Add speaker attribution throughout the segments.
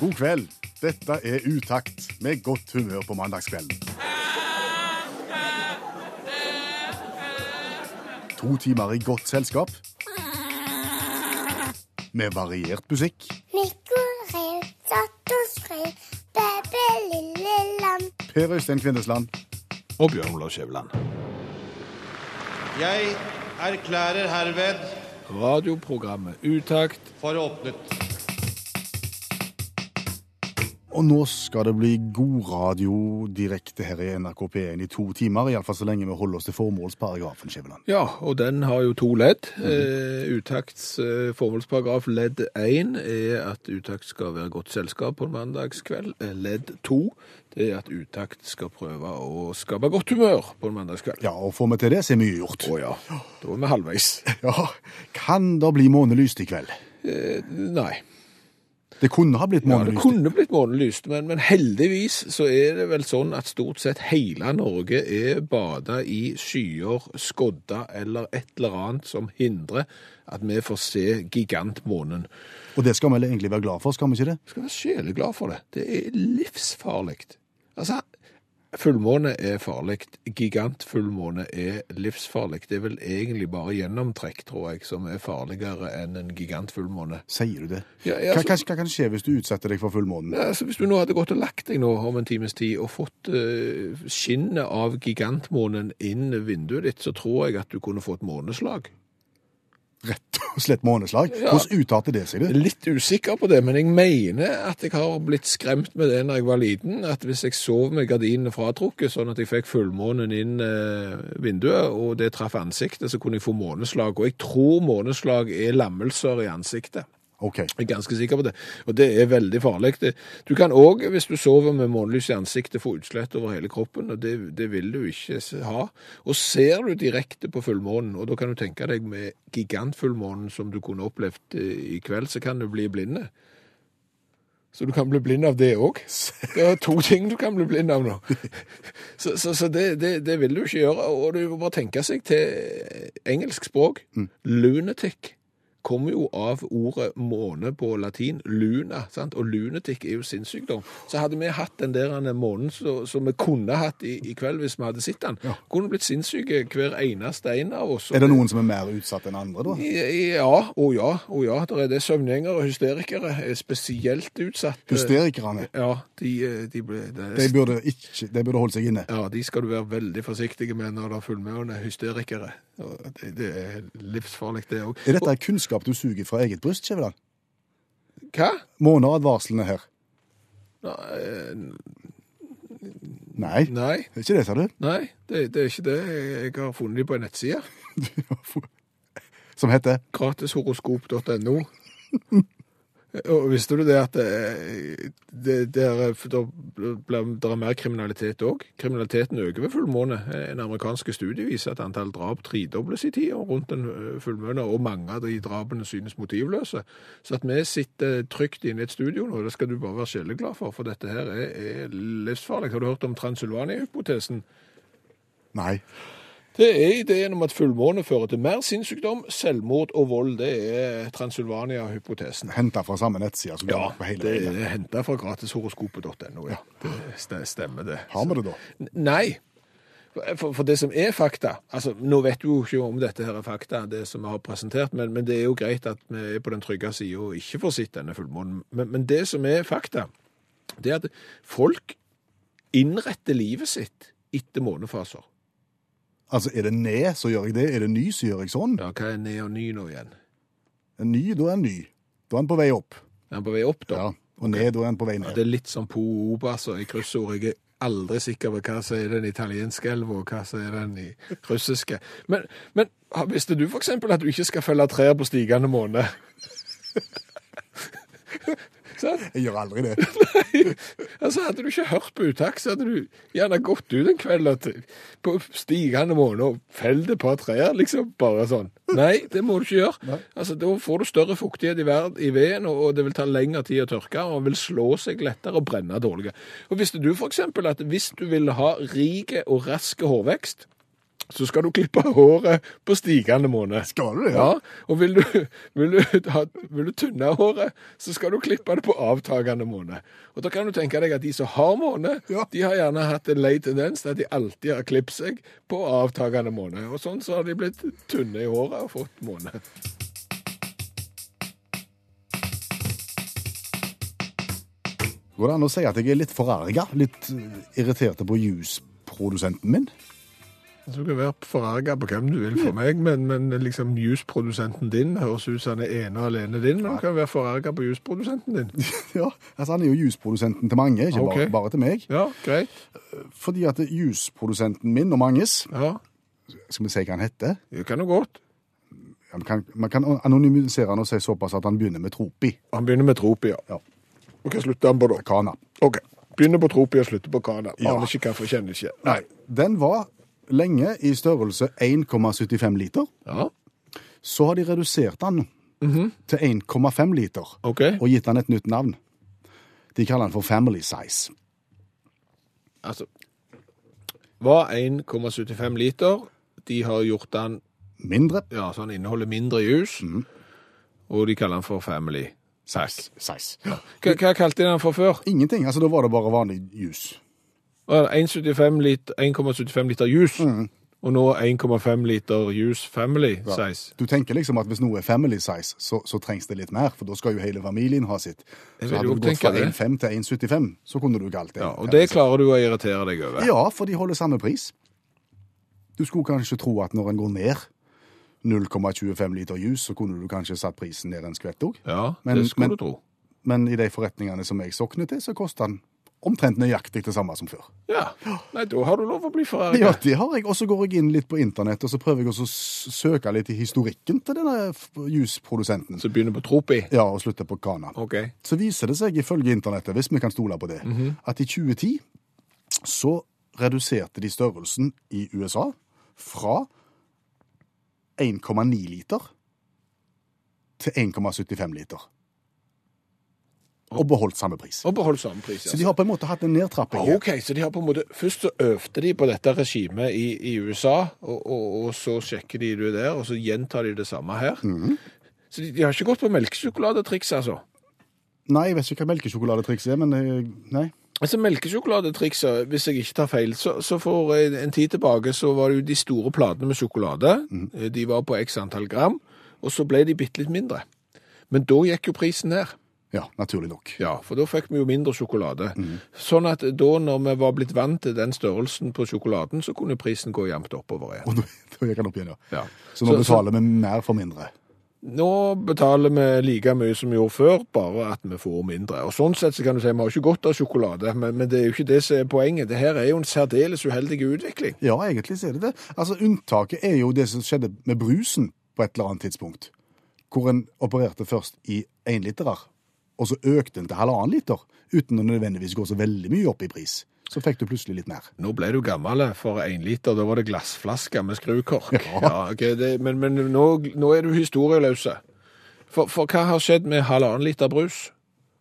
Speaker 1: God kveld. Dette er Utakt, med godt humør på mandagskvelden. To timer i godt selskap. Med variert musikk.
Speaker 2: Mikko rev, satt og skrev, bæbæ lille lam.
Speaker 1: Per Øystein Kvindesland.
Speaker 3: Og Bjørn Olav Skjæveland.
Speaker 4: Jeg erklærer herved
Speaker 3: Radioprogrammet Utakt
Speaker 4: for åpnet.
Speaker 1: Og nå skal det bli god radio direkte her i NRK P1 i to timer. Iallfall så lenge vi holder oss til formålsparagrafen, Skjæveland.
Speaker 3: Ja, og den har jo to ledd. Eh, utakts eh, formålsparagraf ledd 1 er at utakt skal være godt selskap på en mandagskveld. Eh, Ledd 2 det er at utakt skal prøve å skape godt humør på en mandagskveld.
Speaker 1: Ja, og får vi til det, så er mye gjort.
Speaker 3: Å ja, da er vi halvveis.
Speaker 1: Ja, Kan det bli månelyst i kveld?
Speaker 3: Eh, nei.
Speaker 1: Det kunne ha blitt
Speaker 3: Ja, det
Speaker 1: månelyst.
Speaker 3: kunne blitt månelyst, men, men heldigvis så er det vel sånn at stort sett hele Norge er bada i skyer, skodda eller et eller annet som hindrer at vi får se gigantmånen.
Speaker 1: Og det skal vi vel egentlig være glad for, skal vi ikke det?
Speaker 3: Du skal være sjeleglad for det. Det er livsfarlig. Altså, fullmåne er farlig. Gigantfullmåne er livsfarlig. Det er vel egentlig bare gjennomtrekk, tror jeg, som er farligere enn en gigantfullmåne.
Speaker 1: Sier du det?
Speaker 3: Ja, ja,
Speaker 1: Hva,
Speaker 3: så-
Speaker 1: hva, hva kan skje hvis du utsetter deg for fullmånen?
Speaker 3: Ja, altså, hvis du nå hadde gått og lagt deg nå om en times tid og fått eh, skinnet av gigantmånen inn vinduet ditt, så tror jeg at du kunne fått måneslag.
Speaker 1: Rett og slett måneslag?
Speaker 3: Ja.
Speaker 1: Hvordan uttalte det seg? det?
Speaker 3: Jeg er Litt usikker på det, men jeg mener at jeg har blitt skremt med det når jeg var liten, at hvis jeg sov med gardinene fratrukket, sånn at jeg fikk fullmånen inn eh, vinduet, og det traff ansiktet, så kunne jeg få måneslag. Og jeg tror måneslag er lammelser i ansiktet.
Speaker 1: Ok.
Speaker 3: Jeg er ganske sikker på det, og det er veldig farlig. Det- Du kan òg, hvis du sover med månelys i ansiktet, få utslett over hele kroppen, og det, det vil du ikke s- ha. Og ser du direkte på fullmånen, og da kan du tenke deg med gigantfullmånen som du kunne opplevd eh, i kveld, så kan du bli blinde. Så du kan bli blind av det òg. Det er to ting du kan bli blind av nå. Så, så, så det, det, det vil du ikke gjøre. Og du må bare tenke seg til engelsk språk.
Speaker 1: Mm.
Speaker 3: Lunatic kommer jo av ordet måne på latin, luna, sant? og lunatic er jo sinnssykdom. Så hadde vi hatt den der ene månen så- som vi kunne hatt i, i kveld hvis vi hadde sett den, kunne blitt sinnssyke hver eneste en av oss.
Speaker 1: Er det noen som er mer utsatt enn andre, da?
Speaker 3: Ja, og ja, og ja. Det er det søvngjengere og hysterikere er spesielt utsatt.
Speaker 1: Hysterikerne.
Speaker 3: Ja, de, eh, de ble det,
Speaker 1: De burde, ikke, de burde holde seg inne.
Speaker 3: Ja, de skal du være veldig forsiktig med når det er fullmåne hysterikere. Og Det, det er livsfarlig, det òg.
Speaker 1: Er dette kunnskap du suger fra eget bryst, Skjæveland?
Speaker 3: Hva?
Speaker 1: Måneadvarslene her?
Speaker 3: Nei, eh,
Speaker 1: Nei,
Speaker 3: nei,
Speaker 1: det er ikke det, sa du?
Speaker 3: nei det, det er ikke det. Jeg har funnet de på en nettside.
Speaker 1: Som heter
Speaker 3: Gratishoroskop.no. Og visste du det at eh, det, det, er, for da blir- det er mer kriminalitet òg? Kriminaliteten øker ved fullmåne. Eh, En amerikansk studie viser at antall drap tredobles i tida rundt en eh, fullmåne, og mange av de drapene synes motivløse. Så at vi sitter trygt inne i et studio nå, det skal du bare være sjeleglad for, for dette her er, er livsfarlig. Har du hørt om Transylvania-hypotesen?
Speaker 1: Nei.
Speaker 3: Det er ideen om at fullmåne fører til mer sinnssykdom, selvmord og vold. Det er Transylvania-hypotesen.
Speaker 1: Henta fra samme nettside som du har på hele
Speaker 3: det
Speaker 1: veien.
Speaker 3: er henta fra gratishoroskopet.no. Ja. Det st- stemmer, det.
Speaker 1: Har vi det, da?
Speaker 3: N- Nei. For, for det som er fakta altså Nå vet du jo ikke om dette her er fakta, det som vi har presentert, men, men det er jo greit at vi er på den trygge sida og ikke får sett denne fullmånen. Men, men det som er fakta, det er at folk innretter livet sitt etter månefaser.
Speaker 1: Altså, Er det ned, så gjør jeg det. Er det ny, så gjør jeg sånn.
Speaker 3: Ja, Hva er ned og ny nå igjen?
Speaker 1: En ny, da er en ny. Da er en på vei opp.
Speaker 3: Er han på vei opp, da?
Speaker 1: Ja. Og ned, da er en på vei
Speaker 3: Ja.
Speaker 1: ned.
Speaker 3: Det er litt som po oba, så i kryssord. Jeg er aldri sikker på hva som er den italienske elva, og hva som er den i russiske. Men, men ha- visste du f.eks. at du ikke skal felle trær på stigende måne? Sant?
Speaker 1: Jeg gjør aldri det.
Speaker 3: altså, hadde du ikke hørt på utakt, så hadde du gjerne gått ut en kveld og t- på stigende måne og felt et par trær, liksom. Bare sånn. Nei, det må du ikke gjøre. Altså, Da får du større fuktighet i, verd, i veden, og, og det vil ta lengre tid å tørke, og vil slå seg lettere og brenne dårligere. Og Visste du f.eks. at hvis du vil ha rik og rask hårvekst, så skal du klippe håret på stigende måned.
Speaker 1: Skal du det?
Speaker 3: Ja, og vil du, vil, du, ha- vil du tynne håret, så skal du klippe det på avtagende måned. Og da kan du tenke deg at de som har måned,
Speaker 1: Ja.
Speaker 3: de har gjerne hatt en lei tendens til at de alltid har klippet seg på avtagende måned. Og sånn så har de blitt tynne i håret og fått måned.
Speaker 1: Går det an å si at jeg er litt forarga? Litt eh, irritert på jusprodusenten min?
Speaker 3: Du kan være forarga på hvem du vil for meg, men, men liksom jusprodusenten din høres ut som han er ene og alene din, men du kan være forarga på jusprodusenten din.
Speaker 1: ja, altså Han er jo jusprodusenten til mange, ikke
Speaker 3: Ok.
Speaker 1: bare, bare til meg.
Speaker 3: Ja, greit.
Speaker 1: Fordi at jusprodusenten min og manges
Speaker 3: Ja,
Speaker 1: Skal vi si hva han heter?
Speaker 3: det kan jo godt.
Speaker 1: Ja, Man kan, man kan anonymisere han og si såpass at han begynner med Tropi.
Speaker 3: Han begynner med Tropia.
Speaker 1: Ja.
Speaker 3: Og hva slutter han på da?
Speaker 1: Kana.
Speaker 3: Ok, Begynner på Tropia, slutter på Kana.
Speaker 1: Ja.
Speaker 3: Aner ikke hvorfor, kjenner ikke.
Speaker 1: Nei. Den var lenge i størrelse 1,75 liter.
Speaker 3: Ja,
Speaker 1: Så har de redusert den til 1,5 liter
Speaker 3: Mhm. ok.
Speaker 1: og gitt den et nytt navn. De kaller den for Family Size.
Speaker 3: Altså, var 1,75 liter. De har gjort den
Speaker 1: Mindre
Speaker 3: ja, så han inneholder mindre jus,
Speaker 1: Mm.
Speaker 3: og de kaller den for Family Sack.
Speaker 1: size.
Speaker 3: Hva, hva kalte de den for før?
Speaker 1: Ingenting. altså Da var det bare vanlig juice.
Speaker 3: Var det 1,75 liter, 1,75 liter juice,
Speaker 1: Mm.
Speaker 3: og nå 1,5 liter juice family size.
Speaker 1: Du tenker liksom at hvis noe er family size, så, så trengs det litt mer, for da skal jo hele familien ha sitt.
Speaker 3: Jeg
Speaker 1: Så
Speaker 3: vil
Speaker 1: hadde
Speaker 3: jo
Speaker 1: du gått
Speaker 3: tenke
Speaker 1: fra 1,5
Speaker 3: det.
Speaker 1: til 1,75, så kunne du kalt det.
Speaker 3: Ja, og
Speaker 1: family
Speaker 3: det klarer du å irritere deg over.
Speaker 1: Ja, for de holder samme pris. Du skulle kanskje tro at når en går ned 0,25 liter juice, så kunne du kanskje satt prisen ned en skvett òg.
Speaker 3: Ja,
Speaker 1: Men-
Speaker 3: det skulle
Speaker 1: men-
Speaker 3: du tro.
Speaker 1: Men i de forretningene som jeg sokner til, så koster den omtrent nøyaktig det samme som før.
Speaker 3: Ja, Nei, da har du lov å bli forarget.
Speaker 1: Ja, det har jeg. Og så går jeg inn litt på internett og så prøver jeg også å s- søke litt i historikken til denne f- juiceprodusenten.
Speaker 3: Så begynner på tropi.
Speaker 1: Ja, og slutter på Kana.
Speaker 3: Ok.
Speaker 1: Så viser det seg ifølge internettet, hvis vi kan stole på det,
Speaker 3: Mhm.
Speaker 1: at i 2010 så reduserte de størrelsen i USA fra 1,9 liter til 1,75 liter. Og beholdt samme pris.
Speaker 3: Og behold samme pris.
Speaker 1: Så
Speaker 3: altså.
Speaker 1: de har på en måte hatt en nedtrapping. her.
Speaker 3: Ok, så de har på en måte, Først så øvde de på dette regimet i, i USA, og, og, og så sjekker de det der, og så gjentar de det samme her.
Speaker 1: Mhm.
Speaker 3: Så de, de har ikke gått på melkesjokoladetriks, altså.
Speaker 1: Nei, jeg vet ikke hva melkesjokoladetrikset er, men eh, nei.
Speaker 3: Altså Melkesjokoladetrikset, hvis jeg ikke tar feil, så, så for en, en tid tilbake så var det jo de store platene med sjokolade.
Speaker 1: Mhm.
Speaker 3: Eh, De var på x antall gram, og så ble de bitte litt mindre. Men da gikk jo prisen ned.
Speaker 1: Ja, naturlig nok.
Speaker 3: Ja, for da fikk vi jo mindre sjokolade. Sånn at da når vi var blitt vant til den størrelsen på sjokoladen, så kunne prisen gå jevnt oppover igjen.
Speaker 1: Og da da gikk han opp igjen, ja.
Speaker 3: Ja.
Speaker 1: Så nå
Speaker 3: Så- så-
Speaker 1: betaler vi mer for mindre.
Speaker 3: Nå betaler vi like mye som vi gjorde før, bare at vi får mindre. Og Sånn sett så kan du si vi har ikke godt av sjokolade, men, men det er jo ikke det som er poenget. Det her er jo en særdeles uheldig utvikling.
Speaker 1: Ja, egentlig så er det det. Altså, Unntaket er jo det som skjedde med brusen på et eller annet tidspunkt. Hvor en opererte først i énliterer, og så økte den til halvannen liter. Uten å nødvendigvis gå så veldig mye opp i pris. Så fikk du plutselig litt mer.
Speaker 3: Nå ble du gammel eh, for én liter, da var det glassflasker med skrukork. Ja, ok, det, men men nå, nå er du historieløse. For, for hva har skjedd med halvannen liter brus?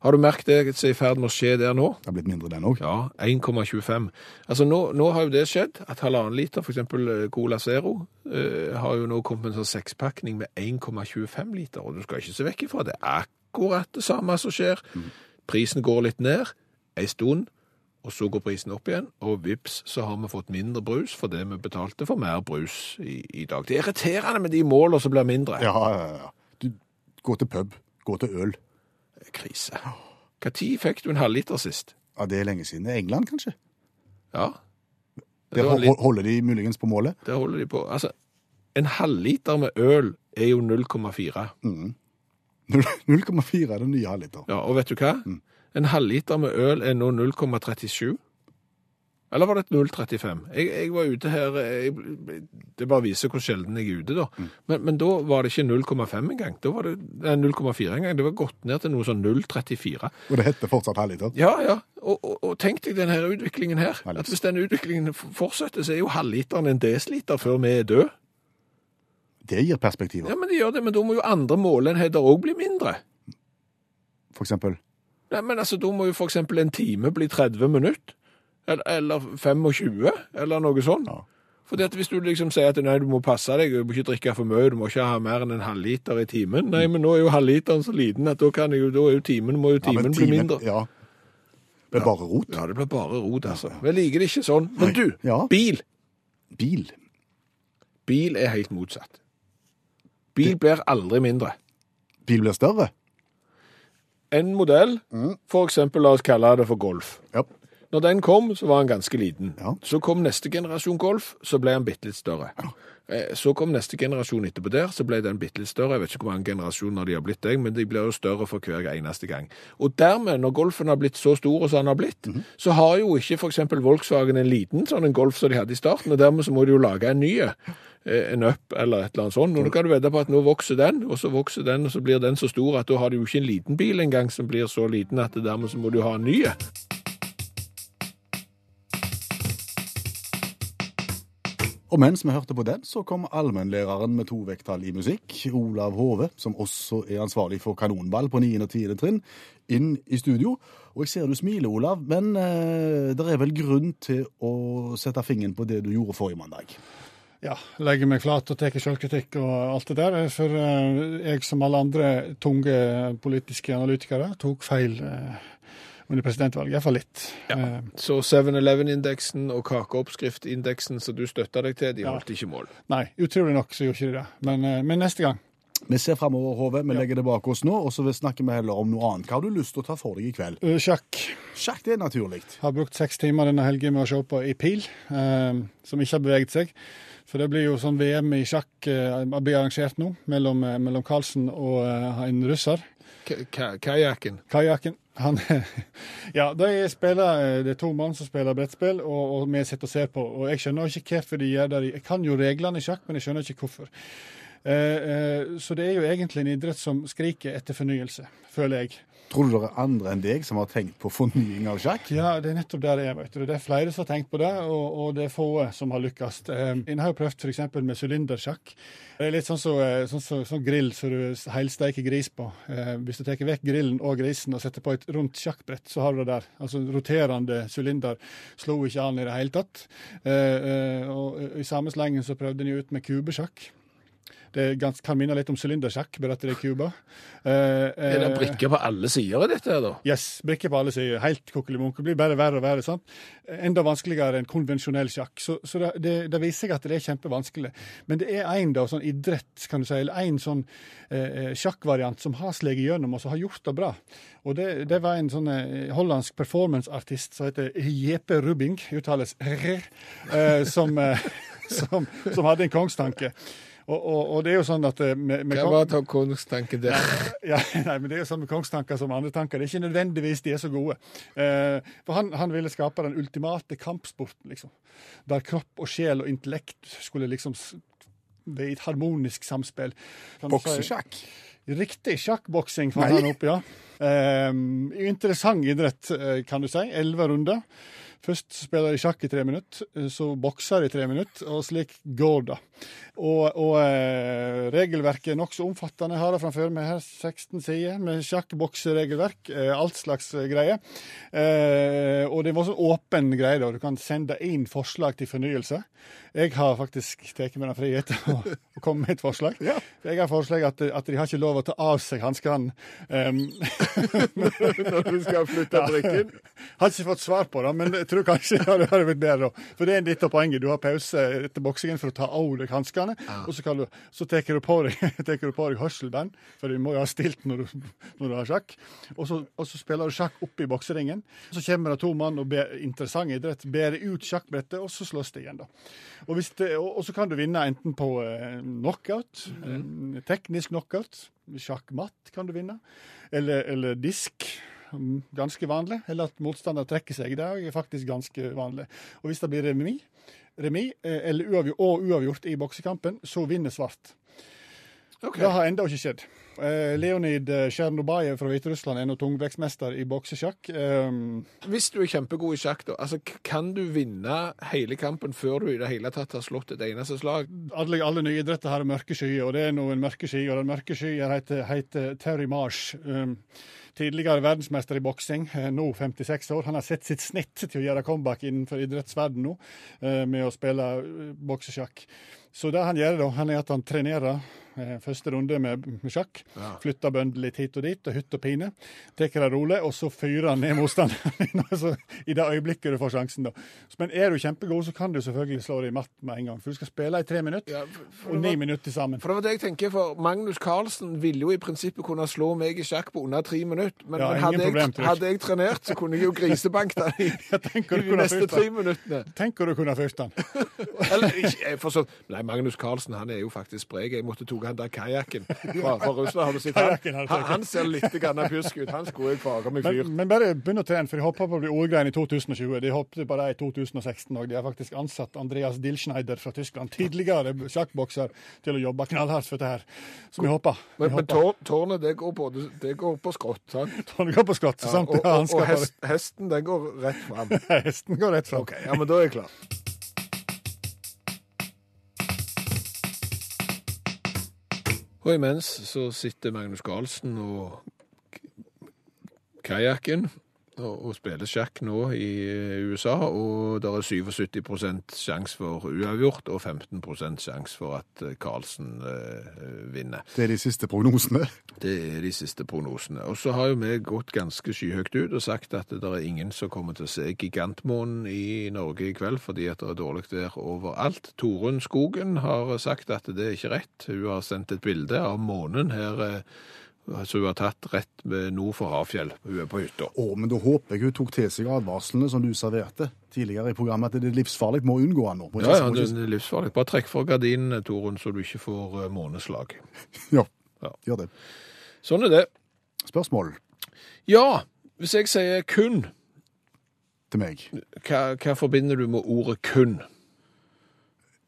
Speaker 3: Har du merket det som er i ferd med å skje der nå?
Speaker 1: Det har blitt mindre, den òg.
Speaker 3: Ja, 1,25. Altså nå, nå har jo det skjedd, at halvannen liter, for eksempel eh, Cola Zero, eh, har jo nå kommet med en sånn sekspakning med 1,25 liter, og du skal ikke se vekk ifra det. er Akkurat det samme som skjer. Prisen går litt ned, en stund, og så går prisen opp igjen, og vips, så har vi fått mindre brus for det vi betalte for mer brus i, i dag. Det er irriterende med de målene som blir mindre.
Speaker 1: Ja, ja, ja. Du, gå til pub. Gå til øl.
Speaker 3: Krise. Hva tid fikk du en halvliter sist?
Speaker 1: Ja, Det er lenge siden. England, kanskje?
Speaker 3: Ja.
Speaker 1: Der
Speaker 3: Det var
Speaker 1: ho-
Speaker 3: en liten-
Speaker 1: holder de muligens på målet.
Speaker 3: Det holder de på. Altså, en halvliter med øl er jo 0,4.
Speaker 1: 0,4 er den nye halvliter.
Speaker 3: Ja, og vet du hva? En halvliter med øl er nå 0,37. Eller var det et 0,35? Jeg, jeg var ute her jeg, Det bare viser hvor sjelden jeg er ute, da. Men, men da var det ikke 0,5 engang. Da var det nei, 0,4 engang. Det var gått ned til noe sånn 0,34.
Speaker 1: Og det heter fortsatt halvliter.
Speaker 3: Ja, ja. Og, og, og tenk deg denne utviklingen her.
Speaker 1: Veldig.
Speaker 3: At hvis denne utviklingen f- fortsetter, så er jo halvliteren en desiliter før vi er døde.
Speaker 1: Det gir perspektiver.
Speaker 3: Ja, men de gjør det, men da må jo andre målenheter òg bli mindre.
Speaker 1: For eksempel.
Speaker 3: Nei, men altså, Da må jo f.eks. en time bli 30 minutter. Eller, eller 25, eller noe sånt.
Speaker 1: Ja.
Speaker 3: For det at hvis du liksom sier at nei, du må passe deg, du må ikke drikke for mye, du må ikke ha mer enn en halvliter i timen. Nei, men nå er jo halvliteren så liten at da, kan jo, da er jo timen, må jo
Speaker 1: Ja,
Speaker 3: timen
Speaker 1: men
Speaker 3: bli
Speaker 1: timen-
Speaker 3: mindre.
Speaker 1: Ja. Det er bare rot.
Speaker 3: Ja, det blir bare rot, altså. Jeg liker det ikke sånn. Men du,
Speaker 1: Ja.
Speaker 3: bil.
Speaker 1: Bil.
Speaker 3: Bil er helt motsatt. Bil blir aldri mindre.
Speaker 1: Bil blir større.
Speaker 3: En modell,
Speaker 1: Mm.
Speaker 3: for eksempel, la oss kalle det for Golf.
Speaker 1: Ja.
Speaker 3: Når den kom, så var han ganske liten.
Speaker 1: Ja.
Speaker 3: Så kom neste generasjon Golf, så ble han bitte litt større. Eh, Så kom neste generasjon etterpå der, så ble den bitte litt større. Jeg vet ikke hvor mange generasjoner de har blitt, jeg, men de blir jo større for hver eneste gang. Og dermed, når Golfen har blitt så stor som han har blitt, så har jo ikke for eksempel Volkswagen en liten sånn en Golf som de hadde i starten, og dermed så må de jo lage en ny, eh, en Up eller et eller annet sånt. Og nå kan du vite på at nå vokser den, og så vokser den, og så blir den så stor at da har du jo ikke en liten bil engang som blir så liten at dermed så må du ha en ny.
Speaker 1: Og mens vi hørte på den, så kom allmennlæreren med to vekttall i musikk, Olav Hove, som også er ansvarlig for kanonball på 9. og 10. trinn, inn i studio. Og jeg ser du smiler, Olav, men eh, det er vel grunn til å sette fingeren på det du gjorde forrige mandag.
Speaker 5: Ja, legger meg flat og tar selvkritikk og alt det der. For eh, jeg, som alle andre tunge politiske analytikere, tok feil eh, under presidentvalget. Iallfall litt. Eh,
Speaker 3: Så 7-Eleven-indeksen og kakeoppskriftindeksen som du støtta deg til, de
Speaker 5: Ja.
Speaker 3: holdt ikke mål.
Speaker 5: nei, utrolig nok så gjorde ikke de det. Men, eh, men neste gang.
Speaker 1: Vi ser fremover, Hove, vi legger det bak oss nå, og så snakker vi heller om noe annet. Hva har du lyst til å ta for deg i kveld?
Speaker 5: Eh, sjakk.
Speaker 1: Sjakk, det er naturlig.
Speaker 5: Har brukt seks timer denne helgen med å se på i pil, eh, som ikke har beveget seg. For det blir jo sånn VM i sjakk eh, blir arrangert nå, mellom, eh, mellom Carlsen og eh, en russer.
Speaker 3: Ka- ka- Kajakken.
Speaker 5: Kajakken. Han Ja, de spiller, eh, det er to mann som spiller brettspill, og, og vi sitter og ser på. Og jeg skjønner ikke hvorfor de gjør det. de- Jeg kan jo reglene i sjakk, men jeg skjønner ikke hvorfor. Eh, eh, så det er jo egentlig en idrett som skriker etter fornyelse, føler jeg.
Speaker 1: Tror du det er andre enn deg som har tenkt på fornying av sjakk?
Speaker 5: Ja, det er nettopp der det er, vet du. Det er flere som har tenkt på det, og, og det er få som har lykkes. Eh, En har jo prøvd f.eks. med sylindersjakk. Det er litt sånn som så, sånn, så, sånn grill som du helsteiker gris på. Eh, Hvis du tar vekk grillen og grisen og setter på et rundt sjakkbrett, så har du det der. Altså roterende sylinder slo ikke an i det hele tatt. Eh, eh, Og i samme slengen så prøvde de ut med kubesjakk. Det er gans- kan minne litt om sylindersjakk, bare at det Eh, er kuber.
Speaker 3: Er
Speaker 5: Er
Speaker 3: det brikker på alle sider i dette her, da?
Speaker 5: Yes, brikker på alle sider. Helt kokkelimonk. Det blir bare verre og verre. sant? Enda vanskeligere enn konvensjonell sjakk. Så, så det, det, det viser seg at det er kjempevanskelig. Men det er én sånn idrett, kan du si, eller én sånn eh, eh, sjakkvariant som har sleget gjennom, og som har gjort det bra. Og det, det var en sånn eh, hollandsk performanceartist som heter Jepe Rubing, uttales rr, eh, som, eh, som, som hadde en kongstanke. Og, og, og det er jo sånn at eh, med, med
Speaker 3: Hva
Speaker 5: kong-
Speaker 3: var ta- kongstanken der?
Speaker 5: ja, nei, men Det er jo samme kongstanker som andre tanker. Det er ikke nødvendigvis de er så gode. Eh, for han, han ville skape den ultimate kampsporten, liksom. Der kropp og sjel og intellekt skulle liksom s- være i et harmonisk samspill. Kan du si-
Speaker 1: Boksesjakk?
Speaker 5: Riktig. Sjakkboksing fant han opp, ja. Eh, interessant idrett, eh, kan du si. Elleve runder. Først spiller de sjakk i tre minutter, eh, så bokser de i tre minutter, og slik går det. Og, og eh, regelverket er nokså omfattende. Jeg har det framfor meg her, 16 sider med sjakkbokseregelverk. Eh, alt slags eh, greier. Eh, og det var sånn åpen greie, da. Du kan sende inn forslag til fornyelse. Jeg har faktisk tatt meg den frihet å å komme med et forslag. For Jeg har forslag at, at de har ikke lov å ta av seg hanskene. Um,
Speaker 3: Når du skal flytte brikken?
Speaker 5: har ikke fått svar på det, men jeg tror kanskje det hadde vært litt bedre. da. For det er litt av poenget. Du har pause etter boksingen for å ta av deg hanskene, og så, kan du, så tar du på deg, tar du på deg hørselband, for du må jo ha stilt når du, når du har sjakk. Og så, og så spiller du sjakk oppe i bokseringen. Så kommer det to mann og ber, interessant idrett, bærer ut sjakkbrettet, og så slåss det igjen, da. Og, hvis det, og, og så kan du vinne enten på eh, knockout, eh, teknisk knockout, sjakkmatt kan du vinne, eller, eller disk. Mm, ganske vanlig. Eller at motstander trekker seg. Det er jo faktisk ganske vanlig. Og hvis det blir remis, remis eh, eller uavgjort, og uavgjort i boksekampen, så vinner svart.
Speaker 3: Ok.
Speaker 5: Det har ennå ikke skjedd. Eh, Leonid eh, Tsjernobajev fra Hviterussland er nå tungvektsmester i boksesjakk. Um,
Speaker 3: Hvis du er kjempegod i sjakk, da, altså, k- kan du vinne hele kampen før du i det hele tatt har slått et eneste slag?
Speaker 5: alle, alle nye idretter har mørke skyer, og det er nå en mørke sky. Og den mørke skyen heter, heter Terry Marsh. Um, tidligere verdensmester i boksing, eh, nå 56 år. Han har sett sitt snitt til å gjøre comeback innenfor idrettsverdenen nå, eh, med å spille eh, boksesjakk. Så det han gjør, da, han er at han trenerer eh, første runde med med sjakk. Flytter bønder litt hit og dit, og hytt og pine. Tar det rolig, og så fyrer han ned motstanderen din altså, i det øyeblikket du får sjansen. da. Men er du kjempegod, så kan du selvfølgelig slå deg matt med en gang. For du skal spille i tre minutter,
Speaker 3: Ja, for- for
Speaker 5: og
Speaker 3: det
Speaker 5: ni
Speaker 3: var-
Speaker 5: minutter til sammen.
Speaker 3: For det var det jeg tenker, for Magnus Carlsen ville jo i prinsippet kunne slå meg i sjakk på under tre minutter, men,
Speaker 5: Ja,
Speaker 3: men
Speaker 5: ingen
Speaker 3: hadde,
Speaker 5: problem, tror
Speaker 3: jeg,
Speaker 5: jeg.
Speaker 3: hadde jeg trenert, så kunne jeg jo grisebankt deg i,
Speaker 5: tenker
Speaker 3: i
Speaker 5: du
Speaker 3: de
Speaker 5: kunne
Speaker 3: neste
Speaker 5: fulgt
Speaker 3: tre
Speaker 5: han.
Speaker 3: minuttene.
Speaker 5: Tenk om du kunne ha ført han.
Speaker 3: Eller ikke, jeg forstår. Nei, Magnus Carlsen han er jo faktisk sprek. Jeg måtte tok han der kajakken fra, fra Russland. Har du sett
Speaker 5: Kajakken
Speaker 3: han?
Speaker 5: har jeg
Speaker 3: Han, han
Speaker 5: tatt.
Speaker 3: ser litt grann pjusk ut. Han skulle jeg faga meg fyrt.
Speaker 5: Men, men bare begynn å trene, for de håper på å bli ordgreiene i 2020. De håpte på det i 2016 òg. De har faktisk ansatt Andreas Dilschneider fra Tyskland, tidligere sjakkbokser, til å jobbe knallhardt for dette her. Så vi håper. Vi
Speaker 3: Men, men
Speaker 5: håper.
Speaker 3: tår, tårnet det går, både, det går på skrått. sant?
Speaker 5: Han går på skott, så
Speaker 3: Ja,
Speaker 5: sant
Speaker 3: og
Speaker 5: det har
Speaker 3: og,
Speaker 5: hansker
Speaker 3: og
Speaker 5: på
Speaker 3: hest, hesten den går rett fram.
Speaker 5: det. Hesten går rett fram.
Speaker 3: OK, ja, men da er jeg klar. Og imens så sitter Magnus Carlsen og k- kajakken og, og spiller sjakk nå i eh, USA, og det er 77 sjanse for uavgjort og 15 sjanse for at eh, Carlsen eh, vinner.
Speaker 1: Det er de siste prognosene.
Speaker 3: Det er de siste prognosene. Og så har jo vi gått ganske skyhøyt ut og sagt at det er ingen som kommer til å se gigantmånen i Norge i kveld fordi at det er dårlig vær overalt. Torunn Skogen har sagt at det er ikke rett. Hun har sendt et bilde av månen her eh, som hun har tatt rett ved nord for Hafjell. Hun er på hytta.
Speaker 1: Å, men da håper jeg hun tok til seg advarslene som du serverte tidligere i programmet, at det er livsfarlig, må unngå han nå. Må ikke-
Speaker 3: Ja, ja,
Speaker 1: må
Speaker 3: det
Speaker 1: ikke-
Speaker 3: er livsfarlig. Bare trekk for gardinene, Torunn, så du ikke får eh, måneslag.
Speaker 1: ja.
Speaker 3: Ja.
Speaker 1: Gjør det.
Speaker 3: Sånn er det.
Speaker 1: Spørsmål
Speaker 3: Ja, hvis jeg sier kun,
Speaker 1: til meg.
Speaker 3: hva, hva forbinder du med ordet kun?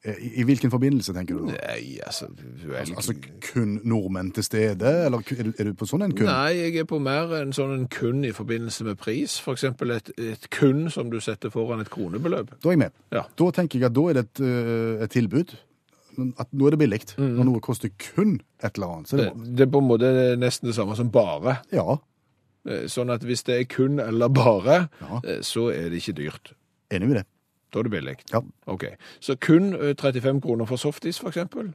Speaker 1: Eh, I, I hvilken forbindelse, tenker du? da?
Speaker 3: Nei, altså, du er
Speaker 1: Altså, altså kun nordmenn til stede, eller ku- er du, er du på sånn en kun?
Speaker 3: Nei, jeg er på mer en sånn en kun i forbindelse med pris. For eksempel et, et kun som du setter foran et kronebeløp.
Speaker 1: Da er jeg med.
Speaker 3: Ja.
Speaker 1: Da tenker jeg at da er det et, øh, et tilbud. At nå er det billig. Når noe koster kun et eller annet. Så
Speaker 3: Mm. Det,
Speaker 1: det,
Speaker 3: det er på en måte nesten det samme som bare.
Speaker 1: ja,
Speaker 3: Eh, Sånn at hvis det er kun eller bare,
Speaker 1: Ja.
Speaker 3: eh, så er det ikke dyrt.
Speaker 1: enig med det.
Speaker 3: Da er det billig.
Speaker 1: Ja.
Speaker 3: Ok. Så kun eh, 35 kroner for softis, for eksempel.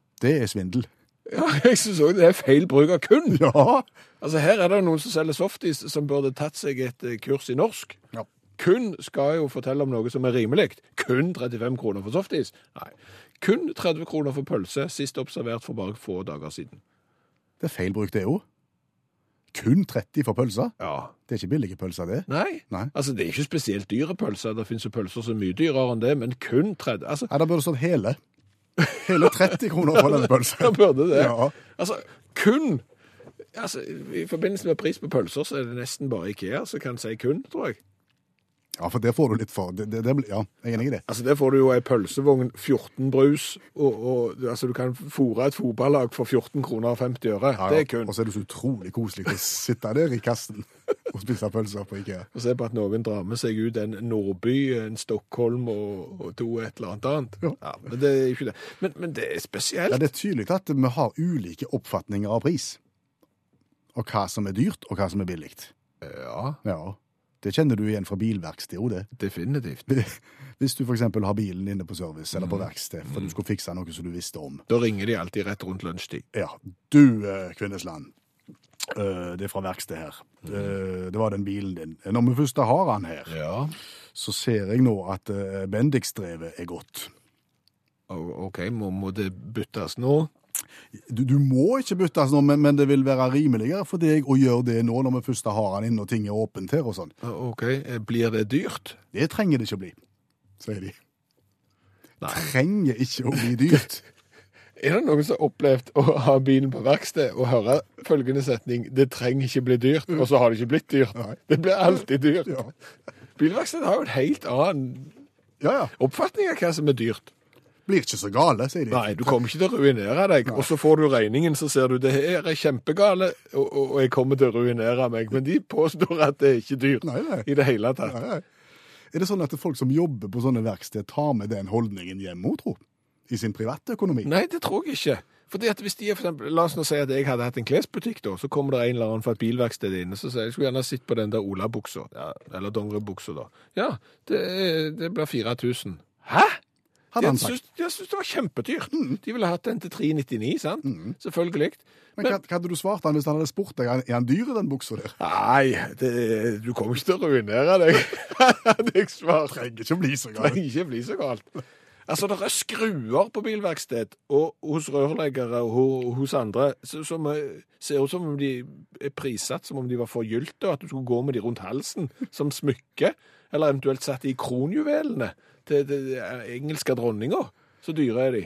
Speaker 1: Det er svindel.
Speaker 3: Ja, jeg synes også det er feil bruk av kun.
Speaker 1: Ja!
Speaker 3: Altså, her er det noen som selger softis som burde tatt seg et eh, kurs i norsk.
Speaker 1: ja.
Speaker 3: Kun skal jo fortelle om noe som er rimelig. Kun 35 kroner for softis. Nei. Kun 30 kroner for pølse, sist observert for bare få dager siden.
Speaker 1: Det er feil bruk, det òg. Kun 30 for pølser.
Speaker 3: Ja.
Speaker 1: Det er ikke billige pølser, det.
Speaker 3: Nei.
Speaker 1: Nei.
Speaker 3: Altså, det er ikke spesielt dyre pølser. Det finnes jo pølser som er mye dyrere enn det, men kun 30 Altså,
Speaker 1: Nei, da burde det stått hele. Hele 30 kroner for denne
Speaker 3: da
Speaker 1: pølsen.
Speaker 3: burde det.
Speaker 1: Ja.
Speaker 3: Altså, kun Altså, I forbindelse med pris på pølser, så er det nesten bare Ikea som kan si kun, tror jeg.
Speaker 1: Ja, for det får du litt for. Det, det, det, blir- ja, jeg er enig i det.
Speaker 3: Altså, Der får du jo ei pølsevogn, 14 brus, og, og altså, du kan fòre et fotballag for 14 kroner og 50 øre.
Speaker 1: Ja,
Speaker 3: Det
Speaker 1: ja.
Speaker 3: er kun.
Speaker 1: Og så er det så utrolig koselig å sitte der i kassen og spise pølser på IKEA.
Speaker 3: Og se på at noen drar med seg ut en Nordby, en Stockholm og, og to et eller annet annet. Ja. men det er ikke det. Men, men det er spesielt.
Speaker 1: Ja, det er tydelig at vi har ulike oppfatninger av pris. Og hva som er dyrt, og hva som er billig.
Speaker 3: Ja,
Speaker 1: Ja, det kjenner du igjen fra bilverksted, jo det.
Speaker 3: definitivt.
Speaker 1: Hvis du for eksempel har bilen inne på service, eller
Speaker 3: Mm.
Speaker 1: på verksted, for du skulle fikse noe som du visste om.
Speaker 3: Da ringer de alltid rett rundt lunsjtid.
Speaker 1: Ja, du, eh, Kvinnesland, eh, det er fra verksted her.
Speaker 3: Mm.
Speaker 1: Eh, Det var den bilen din. Når vi først har han her,
Speaker 3: Ja,
Speaker 1: så ser jeg nå at eh, Bendix-drevet er godt.
Speaker 3: OK, må, må det byttes nå?
Speaker 1: Du, du må ikke byttes nå, men, men det vil være rimeligere for deg å gjøre det nå, når vi først har han inne og ting er åpent her og sånn.
Speaker 3: OK, eh, blir det dyrt?
Speaker 1: Det trenger det ikke å bli, sier de.
Speaker 3: Nei.
Speaker 1: Trenger ikke å bli dyrt.
Speaker 3: Er det noen som har opplevd å ha bilen på verksted og høre følgende setning 'Det trenger ikke bli dyrt', og så har det ikke blitt dyrt? Det blir alltid dyrt.
Speaker 1: Mm. Ja.
Speaker 3: Bilverkstedet har jo en helt annen
Speaker 1: Ja, ja.
Speaker 3: oppfatning av hva som er dyrt.
Speaker 1: Blir ikke så gale, sier de.
Speaker 3: Nei, du kommer ikke til å ruinere deg. Og så får du regningen, så ser du det her er kjempegale, og, og, og jeg kommer til å ruinere meg. Men de påstår at det er ikke dyr
Speaker 1: Nei, nei.
Speaker 3: i det hele tatt.
Speaker 1: Nei, nei. Er det sånn at folk som jobber på sånne verksted, tar med den holdningen hjem òg, tro? I sin privatøkonomi?
Speaker 3: Nei, det tror jeg ikke. Fordi at hvis de, er for eksempel, La oss nå si at jeg hadde hatt en klesbutikk, da, så kommer det en eller annen fra et bilverksted inn og så sier jeg skulle gjerne sett på den der olabuksa, ja, eller dongeribuksa, da. Ja, det, er- det blir 4000. Hæ?!
Speaker 1: Hadde
Speaker 3: De
Speaker 1: han
Speaker 3: syns,
Speaker 1: sagt. Mm.
Speaker 3: de syns det var kjempedyrt. De ville hatt den til 399, sant? Selvfølgelig.
Speaker 1: Men hva, hva hadde du svart han hvis han hadde spurt deg er han dyr i den buksa der?
Speaker 3: Nei, det, du kommer ikke til å ruinere deg. Hadde jeg svart.
Speaker 1: Trenger ikke å bli så
Speaker 3: Det
Speaker 1: gal.
Speaker 3: kan ikke bli så galt. Altså, det er skruer på bilverksted, og hos rørleggere og ho- hos andre, så- som eh, ser ut som om de er prissatt, som om de var forgylte, og at du skulle gå med de rundt halsen som smykke, eller eventuelt satt i kronjuvelene til til eh, engelske dronninger. Så dyre er de.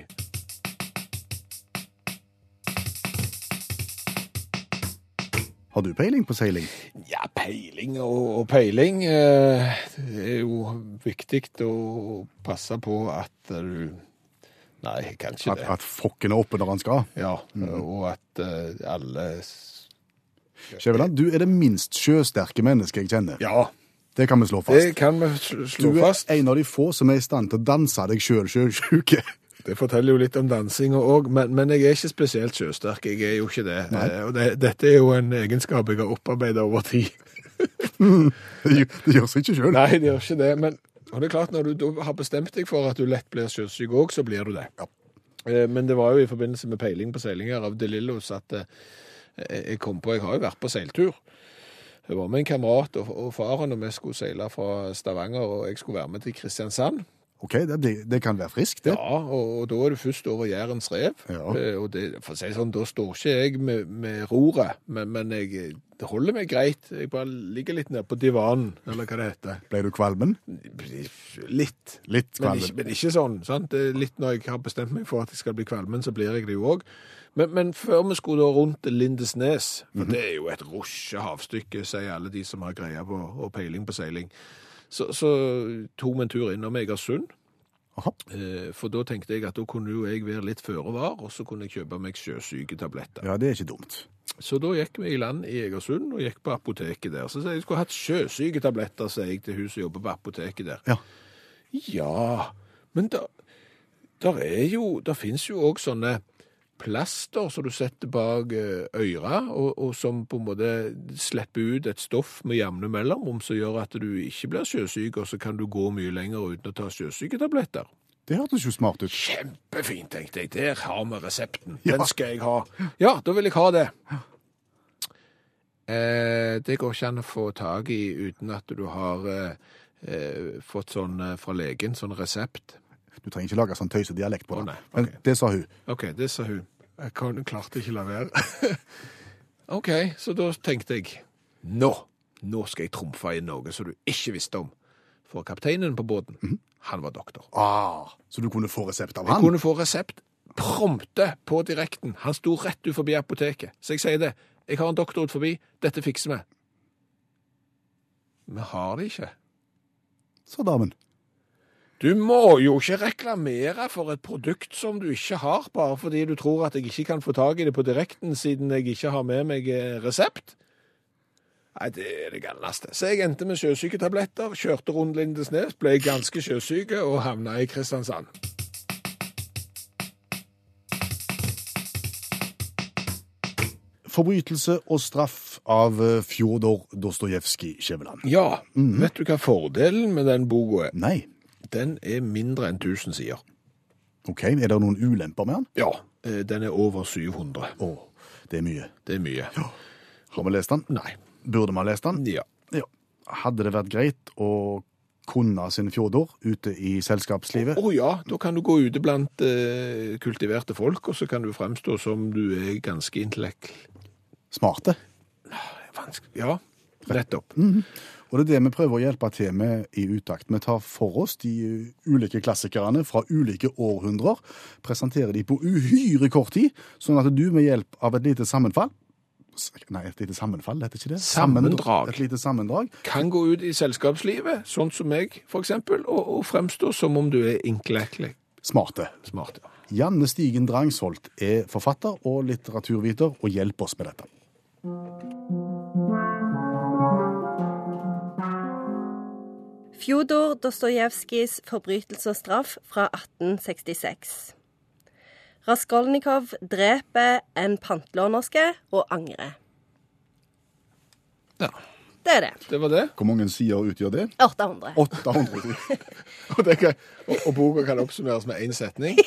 Speaker 1: Har du peiling på seiling?
Speaker 3: Ja, peiling og, og peiling. eh, Det er jo viktig å passe på at du Nei, jeg kan ikke
Speaker 1: At,
Speaker 3: det.
Speaker 1: at fokken er oppe når han skal?
Speaker 3: Ja,
Speaker 1: Mm.
Speaker 3: og at eh, alle s-
Speaker 1: Skjæveland, du er det minst sjøsterke mennesket jeg kjenner.
Speaker 3: Ja,
Speaker 1: Det kan vi slå fast.
Speaker 3: det kan vi sl-
Speaker 1: Du
Speaker 3: slå
Speaker 1: er
Speaker 3: fast.
Speaker 1: en av de få som er i stand til å danse deg sjøl sjøsjuke.
Speaker 3: Det forteller jo litt om dansinga òg, men, men jeg er ikke spesielt sjøsterk. Jeg er jo ikke det. Eh, Og det, dette er jo en egenskap jeg har opparbeida over tid.
Speaker 1: Det gjør- det gjør seg ikke sjøl.
Speaker 3: Nei, det gjør ikke det, men og det er klart, når du da har bestemt deg for at du lett blir sjøsyk òg, så blir du det.
Speaker 1: Ja.
Speaker 3: Eh, Men det var jo i forbindelse med peiling på seilinger av De Lillos at eh, jeg kom på Jeg har jo vært på seiltur. Jeg var med en kamerat og og faren, og vi skulle seile fra Stavanger, og jeg skulle være med til Kristiansand.
Speaker 1: OK, det, blir- det kan være friskt, det.
Speaker 3: Ja, og, og da er du først over Jærens rev.
Speaker 1: Ja.
Speaker 3: Eh, Og det, for å si det sånn, da står ikke jeg med, med roret, men, men jeg, det holder meg greit. Jeg bare ligger litt nede på divanen, eller hva det heter.
Speaker 1: Ble du kvalmen?
Speaker 3: Litt.
Speaker 1: Litt
Speaker 3: Men ikke,
Speaker 1: kvalmen.
Speaker 3: men ikke sånn. sant? Det er litt når jeg har bestemt meg for at jeg skal bli kvalmen, så blir jeg det jo òg. Men, men før vi skulle da rundt Lindesnes, for det er jo et rusje havstykke, sier alle de som har greie på og peiling på seiling, så, så tok vi en tur innom Egersund.
Speaker 1: Aha.
Speaker 3: Eh, For da tenkte jeg at da kunne jo jeg være litt føre var, og så kunne jeg kjøpe meg sjøsyketabletter.
Speaker 1: Ja, det er ikke dumt.
Speaker 3: Så da gikk vi i land i Egersund og gikk på apoteket der. Så sa jeg jeg skulle hatt sjøsyketabletter, sa jeg til hun som jobber på apoteket der.
Speaker 1: Ja.
Speaker 3: Ja, men da der er jo, der finnes jo også sånne plaster som du setter bak eh, øra, og, og som på en måte slipper ut et stoff med jevne mellomrom, som gjør at du ikke blir sjøsyk, og så kan du gå mye lenger uten å ta sjøsyketabletter.
Speaker 1: Det hørtes jo smart ut.
Speaker 3: Kjempefint, tenkte jeg. Der har vi resepten.
Speaker 1: Ja.
Speaker 3: Den skal jeg ha. Ja, da vil jeg ha det. Eh, det går ikke an å få tak i uten at du har eh, eh, fått sånn eh, fra legen, sånn resept.
Speaker 1: Du trenger ikke lage sånn tøysedialekt dialekt på
Speaker 3: Å,
Speaker 1: det.
Speaker 3: nei,
Speaker 1: Men
Speaker 3: ok.
Speaker 1: det sa hun.
Speaker 3: OK, det sa hun. Jeg kan, klarte ikke la være. OK, så da tenkte jeg Nå! Nå skal jeg trumfe inn noe som du ikke visste om. For kapteinen på båten, han var doktor.
Speaker 1: Ah, så du kunne få resept av
Speaker 3: Jeg
Speaker 1: han?
Speaker 3: kunne få resept prompte på direkten. Han sto rett ut forbi apoteket. Så jeg sier det. Jeg har en doktor ut forbi. Dette fikser vi. Vi har det ikke.
Speaker 1: Sa damen.
Speaker 3: Du må jo ikke reklamere for et produkt som du ikke har, bare fordi du tror at jeg ikke kan få tak i det på direkten siden jeg ikke har med meg eh, resept. Nei, det er det galneste. Så jeg endte med sjøsyketabletter, kjørte rundt Lindesnes, ble ganske sjøsyke og havna i Kristiansand.
Speaker 1: Forbrytelse og straff av eh, Fjodor Dostojevskij Skjæveland.
Speaker 3: Ja, vet du hva fordelen med den boka er?
Speaker 1: Nei.
Speaker 3: Den er mindre enn 1000 sider.
Speaker 1: OK, er det noen ulemper med han?
Speaker 3: Ja. Eh, Den er over 700.
Speaker 1: Å, det er mye.
Speaker 3: Det er mye.
Speaker 1: Har vi lest han?
Speaker 3: Nei.
Speaker 1: Burde vi ha lest han?
Speaker 3: Ja.
Speaker 1: Ja. Hadde det vært greit å kunne sin Fjodor ute i selskapslivet?
Speaker 3: Å ja, da kan du gå ute blant eh, kultiverte folk, og så kan du fremstå som du er ganske intellektuell.
Speaker 1: Smarte.
Speaker 3: Vanskelig. Ja, nettopp.
Speaker 1: Og det er det vi prøver å hjelpe til med i Utakt. Vi tar for oss de uh, ulike klassikerne fra ulike århundrer, presenterer de på uhyre kort tid, sånn at du med hjelp av et lite sammenfall s- Nei, et lite sammenfall, det heter ikke det?
Speaker 3: Sammendrag.
Speaker 1: Et lite sammendrag.
Speaker 3: Kan gå ut i selskapslivet, sånn som meg, for eksempel, og, og fremstå som om du er intellektuell.
Speaker 1: smarte.
Speaker 3: Smart, ja.
Speaker 1: Janne Stigen Drangsholt er forfatter og litteraturviter og hjelper oss med dette.
Speaker 6: Fjodor Dostojevskijs 'Forbrytelse og straff' fra 1866. Raskolnikov dreper en pantelånerske og angrer.
Speaker 3: Ja.
Speaker 6: Det er det.
Speaker 3: Det var det.
Speaker 1: Hvor mange sider utgjør det?
Speaker 6: 800.
Speaker 1: 800.
Speaker 3: Og, det kan, og, og boka kan oppsummeres med én setning.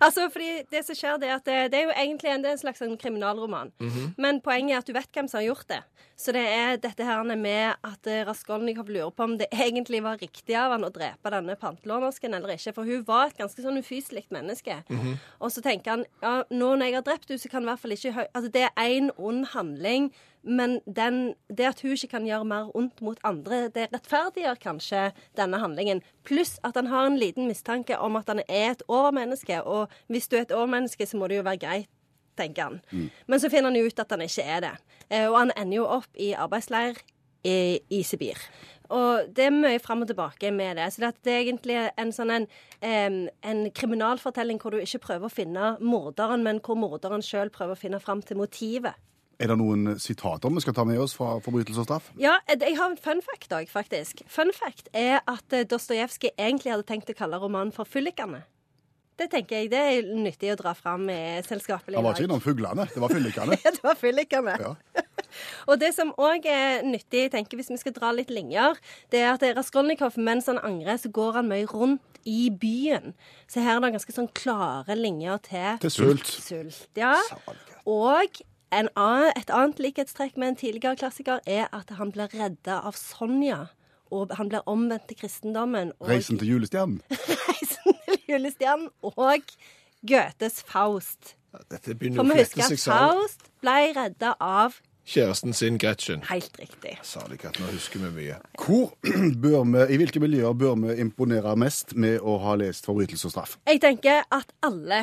Speaker 6: Altså, fordi Det som skjer, det er at det, det er jo egentlig en, det er en slags sånn kriminalroman. Men poenget er at du vet hvem som har gjort det. Så det er dette her med at eh, Raskolnikov lurer på om det egentlig var riktig av han å drepe denne pantelånersken eller ikke. For hun var et ganske sånn ufyselig menneske. Og så tenker han ja, nå når jeg har drept henne, så kan i hvert fall ikke hø- Altså, det er én ond handling. Men den, det at hun ikke kan gjøre mer ondt mot andre, det rettferdiggjør kanskje denne handlingen. Pluss at han har en liten mistanke om at han er et overmenneske, og hvis du er et overmenneske, så må det jo være greit, tenker han. Men så finner han jo ut at han ikke er det. Eh, Og han ender jo opp i arbeidsleir i, i Sibir. Og det er mye fram og tilbake med det. Så det at det er egentlig en sånn en, em, en kriminalfortelling hvor du ikke prøver å finne morderen, men hvor morderen sjøl prøver å finne fram til motivet.
Speaker 1: Er det noen sitater vi skal ta med oss fra forbrytelse og straff?
Speaker 6: Ja, ed- jeg har en fun fact òg, faktisk. Fun fact er at eh, Dostojevskij egentlig hadde tenkt å kalle romanen for 'Fyllikene'. Det tenker jeg det er nyttig å dra fram i selskapelig
Speaker 1: Det var ikke
Speaker 6: lag.
Speaker 1: innom fuglene, det var fyllikene.
Speaker 6: Ja, det var fyllikene.
Speaker 1: Ja.
Speaker 6: og det som òg er nyttig, tenker jeg, hvis vi skal dra litt linjer, det er at Raskolnikov, mens han angrer, så går han mye rundt i byen. Så her er det ganske sånn klare linjer til
Speaker 1: Til sult.
Speaker 6: Sult, ja. Og en annen, et annet likhetstrekk med en tidligere klassiker er at han blir redda av Sonja. Og han blir omvendt til kristendommen. Og
Speaker 1: Reisen til julestjernen.
Speaker 6: Reisen til julestjernen. Og Goethes Faust.
Speaker 3: Dette
Speaker 6: For
Speaker 3: begynner å
Speaker 6: vi
Speaker 3: flette
Speaker 6: husker
Speaker 3: seg
Speaker 6: at
Speaker 3: sammen.
Speaker 6: Faust ble redda av
Speaker 3: Kjæresten sin, Gretchen.
Speaker 6: Helt riktig.
Speaker 3: Salikat, nå husker vi mye.
Speaker 1: Hvor bør vi, I hvilke miljøer bør vi imponere mest med å ha lest forbrytelse og straff?
Speaker 6: Jeg tenker at alle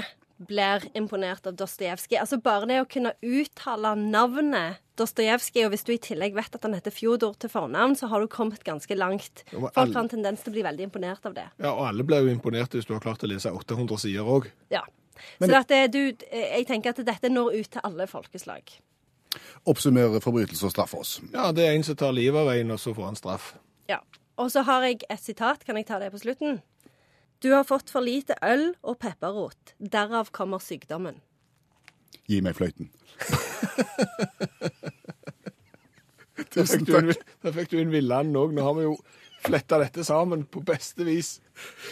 Speaker 6: blir imponert av Dostojevskij. Altså bare det å kunne uttale navnet Dostojevskij, og hvis du i tillegg vet at han heter Fjodor til fornavn, så har du kommet ganske langt.
Speaker 3: Ja, men alle-
Speaker 6: Folk har en tendens til å bli veldig imponert av det.
Speaker 3: Ja, og alle blir jo imponert hvis du har klart å lese 800 sider òg.
Speaker 6: Ja. Så at det, du, eh, jeg tenker at dette når ut til alle folkeslag.
Speaker 1: Oppsummere forbrytelse og straff for oss.
Speaker 3: Ja, det er en som tar livet av en, og så får han straff.
Speaker 6: Ja. Og så har jeg et sitat. Kan jeg ta det på slutten? Du har fått for lite øl og pepperrot. Derav kommer sykdommen.
Speaker 1: Gi meg fløyten.
Speaker 3: Der fikk du en, der fikk du en villan òg. Nå har vi jo fletta dette sammen på beste vis.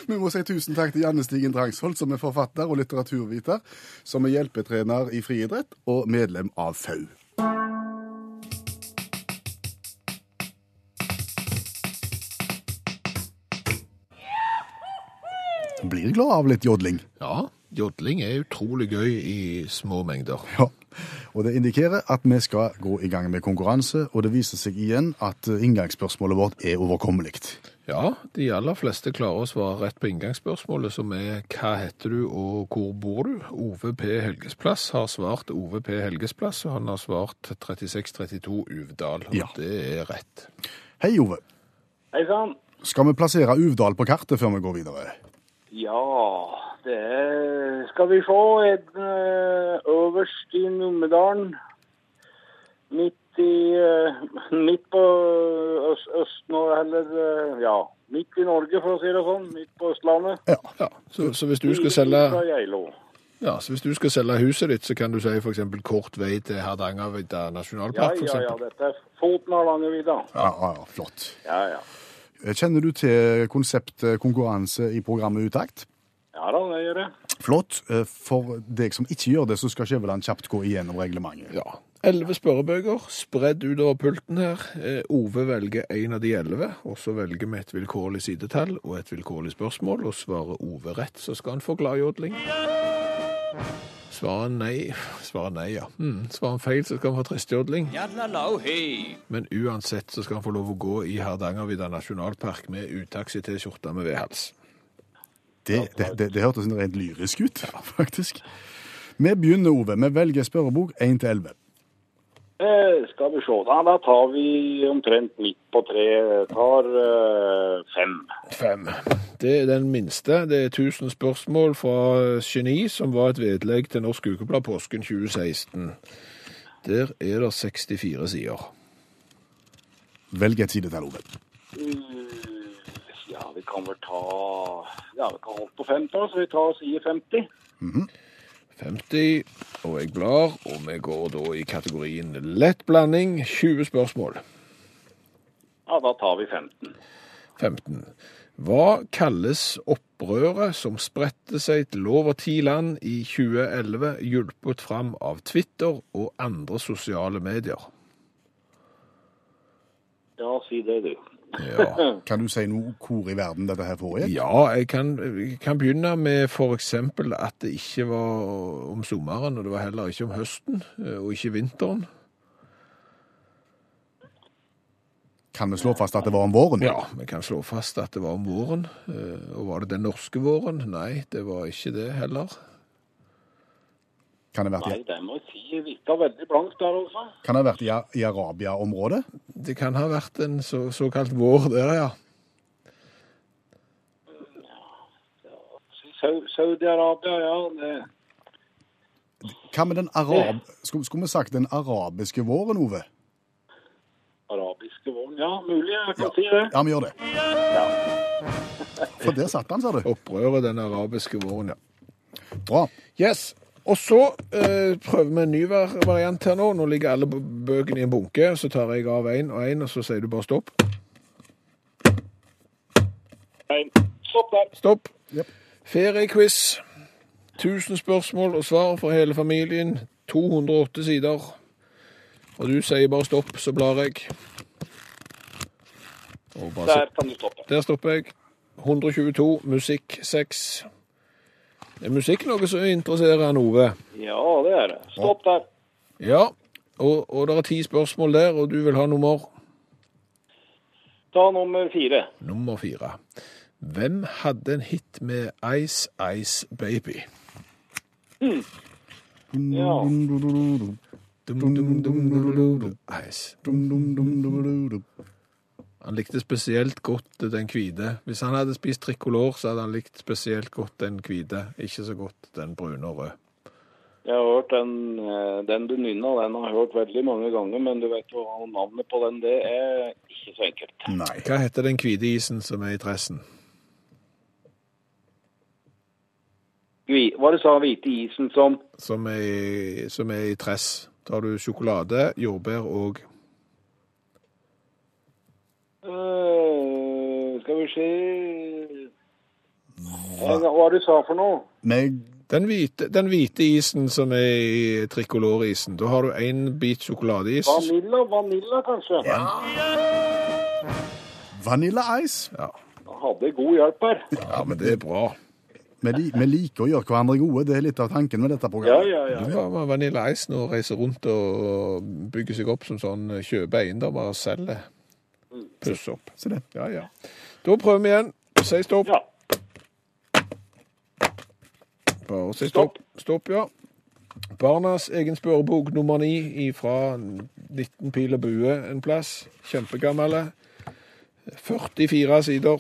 Speaker 1: Vi må si tusen takk til Janne Stigen Drangsvold, som er forfatter og litteraturviter, som er hjelpetrener i friidrett og medlem av FAU. Blir glad av litt jodling.
Speaker 3: Ja, jodling er utrolig gøy i små mengder.
Speaker 1: Ja. Og det indikerer at vi skal gå i gang med konkurranse, og det viser seg igjen at eh, inngangsspørsmålet vårt er overkommelig.
Speaker 3: Ja, de aller fleste klarer å svare rett på inngangsspørsmålet, som er hva heter du og hvor bor du? Ove P. Helgesplass har svart Ove P. Helgesplass, og han har svart 3632 Uvdal. og
Speaker 1: Ja.
Speaker 3: Det er rett.
Speaker 1: Hei, Ove.
Speaker 7: Hei sann.
Speaker 1: Skal vi plassere Uvdal på kartet før vi går videre?
Speaker 7: Ja, det er- skal vi få. En eh, øverst i Numedalen. Midt i eh, Midt på øst, Øst-Norge, eller eh, Ja, midt i Norge, for å si det sånn. Midt på Østlandet.
Speaker 3: Ja, så, så hvis du skal selge
Speaker 7: Fra Geilo.
Speaker 3: Ja, så hvis du skal selge huset ditt, så kan du si f.eks. kort vei til Hardangervidda
Speaker 7: Ja,
Speaker 3: nasjonalpark,
Speaker 7: ja, ja.
Speaker 3: f.eks.
Speaker 7: Dette er foten av Langevidda.
Speaker 1: Ja, ja, ja flott.
Speaker 7: Ja, ja.
Speaker 1: Kjenner du til konseptet konkurranse i programmet Utakt?
Speaker 7: Ja da, det gjør jeg.
Speaker 1: Flott.
Speaker 3: eh,
Speaker 1: For deg som ikke gjør det, så skal Skjæveland kjapt gå igjennom reglementet.
Speaker 3: Ja. Elleve spørrebøker spredd utover pulten her. Eh, Ove velger en av de elleve, og så velger vi et vilkårlig sidetall og et vilkårlig spørsmål, og svarer Ove rett, så skal han få gladjodling. Svarer han nei Svarer han nei, ja. Mm. Svarer han feil, så skal han få tristjodling. Men uansett så skal han få lov å gå i Hardangervidda nasjonalpark med uttaxi T-skjorte med vedhals.
Speaker 1: Det, det, det, det hørtes rent lyrisk ut, faktisk. Vi begynner, Ove. Vi velger spørrebok 1 til 11.
Speaker 7: Eh, skal vi se. Da, da tar vi omtrent midt på tre. Tar eh, fem.
Speaker 3: Fem. Det er den minste. Det er 1000 spørsmål fra Geni, som var et vedlegg til Norsk Ukeblad påsken 2016. Der er det 64 sider.
Speaker 1: Velg et sidetall, Ove.
Speaker 7: Mm, Ja, vi kan vel ta Ja, vi kan holde på 50, så vi tar og sier 50.
Speaker 3: 50, og jeg blar, og vi går da i kategorien lett blanding. 20 spørsmål.
Speaker 7: Ja, da tar vi 15.
Speaker 3: 15. Hva kalles opprøret som spredte seg til over ti land i 2011, hjulpet fram av Twitter og andre sosiale medier?
Speaker 7: Ja, si det, du.
Speaker 3: Ja.
Speaker 1: Kan du si noe hvor i verden dette her foregikk?
Speaker 3: Ja, jeg kan, jeg kan begynne med for eksempel at det ikke var om sommeren, og det var heller ikke om høsten, eh, og ikke vinteren.
Speaker 1: Kan vi slå fast at det var om våren?
Speaker 3: Ja, vi kan slå fast at det var om våren. eh, Og var det den norske våren? Nei, det var ikke det heller.
Speaker 1: Kan det ha
Speaker 7: Nei,
Speaker 1: vært, i-
Speaker 7: det må jeg si virka veldig blankt der, altså.
Speaker 1: kan det ha vært i, i Arabia-området?
Speaker 3: Det kan ha vært en så, såkalt vår der, ja.
Speaker 7: Sau- Saudi-Arabia, ja. Det.
Speaker 1: Hva med den arab... Skulle, skulle vi sagt den arabiske våren, Ove?
Speaker 7: Arabiske våren. Ja, mulig jeg kan si det.
Speaker 1: Ja, vi gjør det. For der satt han, sa du.
Speaker 3: Opprøret den arabiske våren, ja.
Speaker 1: Bra.
Speaker 3: Yes. Og så eh, prøver vi en ny var- variant her nå. Nå ligger alle b- bøkene i en bunke. Så tar jeg av én og én, og så sier du bare stopp.
Speaker 7: Nei, Stopp der.
Speaker 3: Stopp.
Speaker 1: Jep.
Speaker 3: Feriequiz. 1000 spørsmål og svar for hele familien. 208 sider. Og du sier bare stopp, så blar jeg. Og bare
Speaker 7: Der
Speaker 3: stopp.
Speaker 7: kan du stoppe.
Speaker 3: Der stopper jeg. 122, musikk 6. Er musikk noe som interesserer han Ove?
Speaker 7: Ja, det er det. Stopp der.
Speaker 3: Ja. Og, og det er ti spørsmål der, og du vil ha nummer
Speaker 7: Ta nummer fire.
Speaker 3: Nummer fire. Hvem hadde en hit med Ice Ice Baby?
Speaker 7: Ja.
Speaker 3: Dum, dum, dum, dum, dum, dum. Ice. Han likte spesielt godt den hvite. Hvis han hadde spist trikolor, så hadde han likt spesielt godt den hvite, ikke så godt den brune og rød.
Speaker 7: Jeg har hørt den, eh, den du nynna, den har jeg hørt veldig mange ganger, men du vet jo hva navnet på den, det er ikke så enkelt.
Speaker 1: Nei.
Speaker 3: Hva heter den hvite isen som er i dressen?
Speaker 7: Gvi- Hva du sa, hvite isen som
Speaker 3: Som er, i- som er i tress. Tar du sjokolade, jordbær og
Speaker 7: Eh, Skal vi se Hva var det du sa for noe?
Speaker 1: Meg
Speaker 3: den hvite, den hvite isen som er i trikolorisen. Da har du én bit sjokoladeis.
Speaker 7: Vanilla? Vanilla, kanskje?
Speaker 1: Vanilla Ice.
Speaker 3: Ja.
Speaker 7: Jeg Hadde god hjelp her.
Speaker 3: ja, men det er bra.
Speaker 1: Vi, li, vi liker å gjøre hverandre gode. Det er litt av tanken med dette
Speaker 7: Ja,
Speaker 1: programmet.
Speaker 7: ja, ja.
Speaker 3: Du har med Vanilla Ice nå og reiser rundt og bygger seg opp som sånn kjøper eiendommer og selger. Puss opp.
Speaker 1: Se det.
Speaker 3: Ja, ja. Da prøver vi igjen. Si stopp.
Speaker 7: ja.
Speaker 3: Bare si stopp. Stopp, ja. Barnas egen spørrebok nummer ni fra 19 pil og bue en plass. Kjempegammel. 44 sider.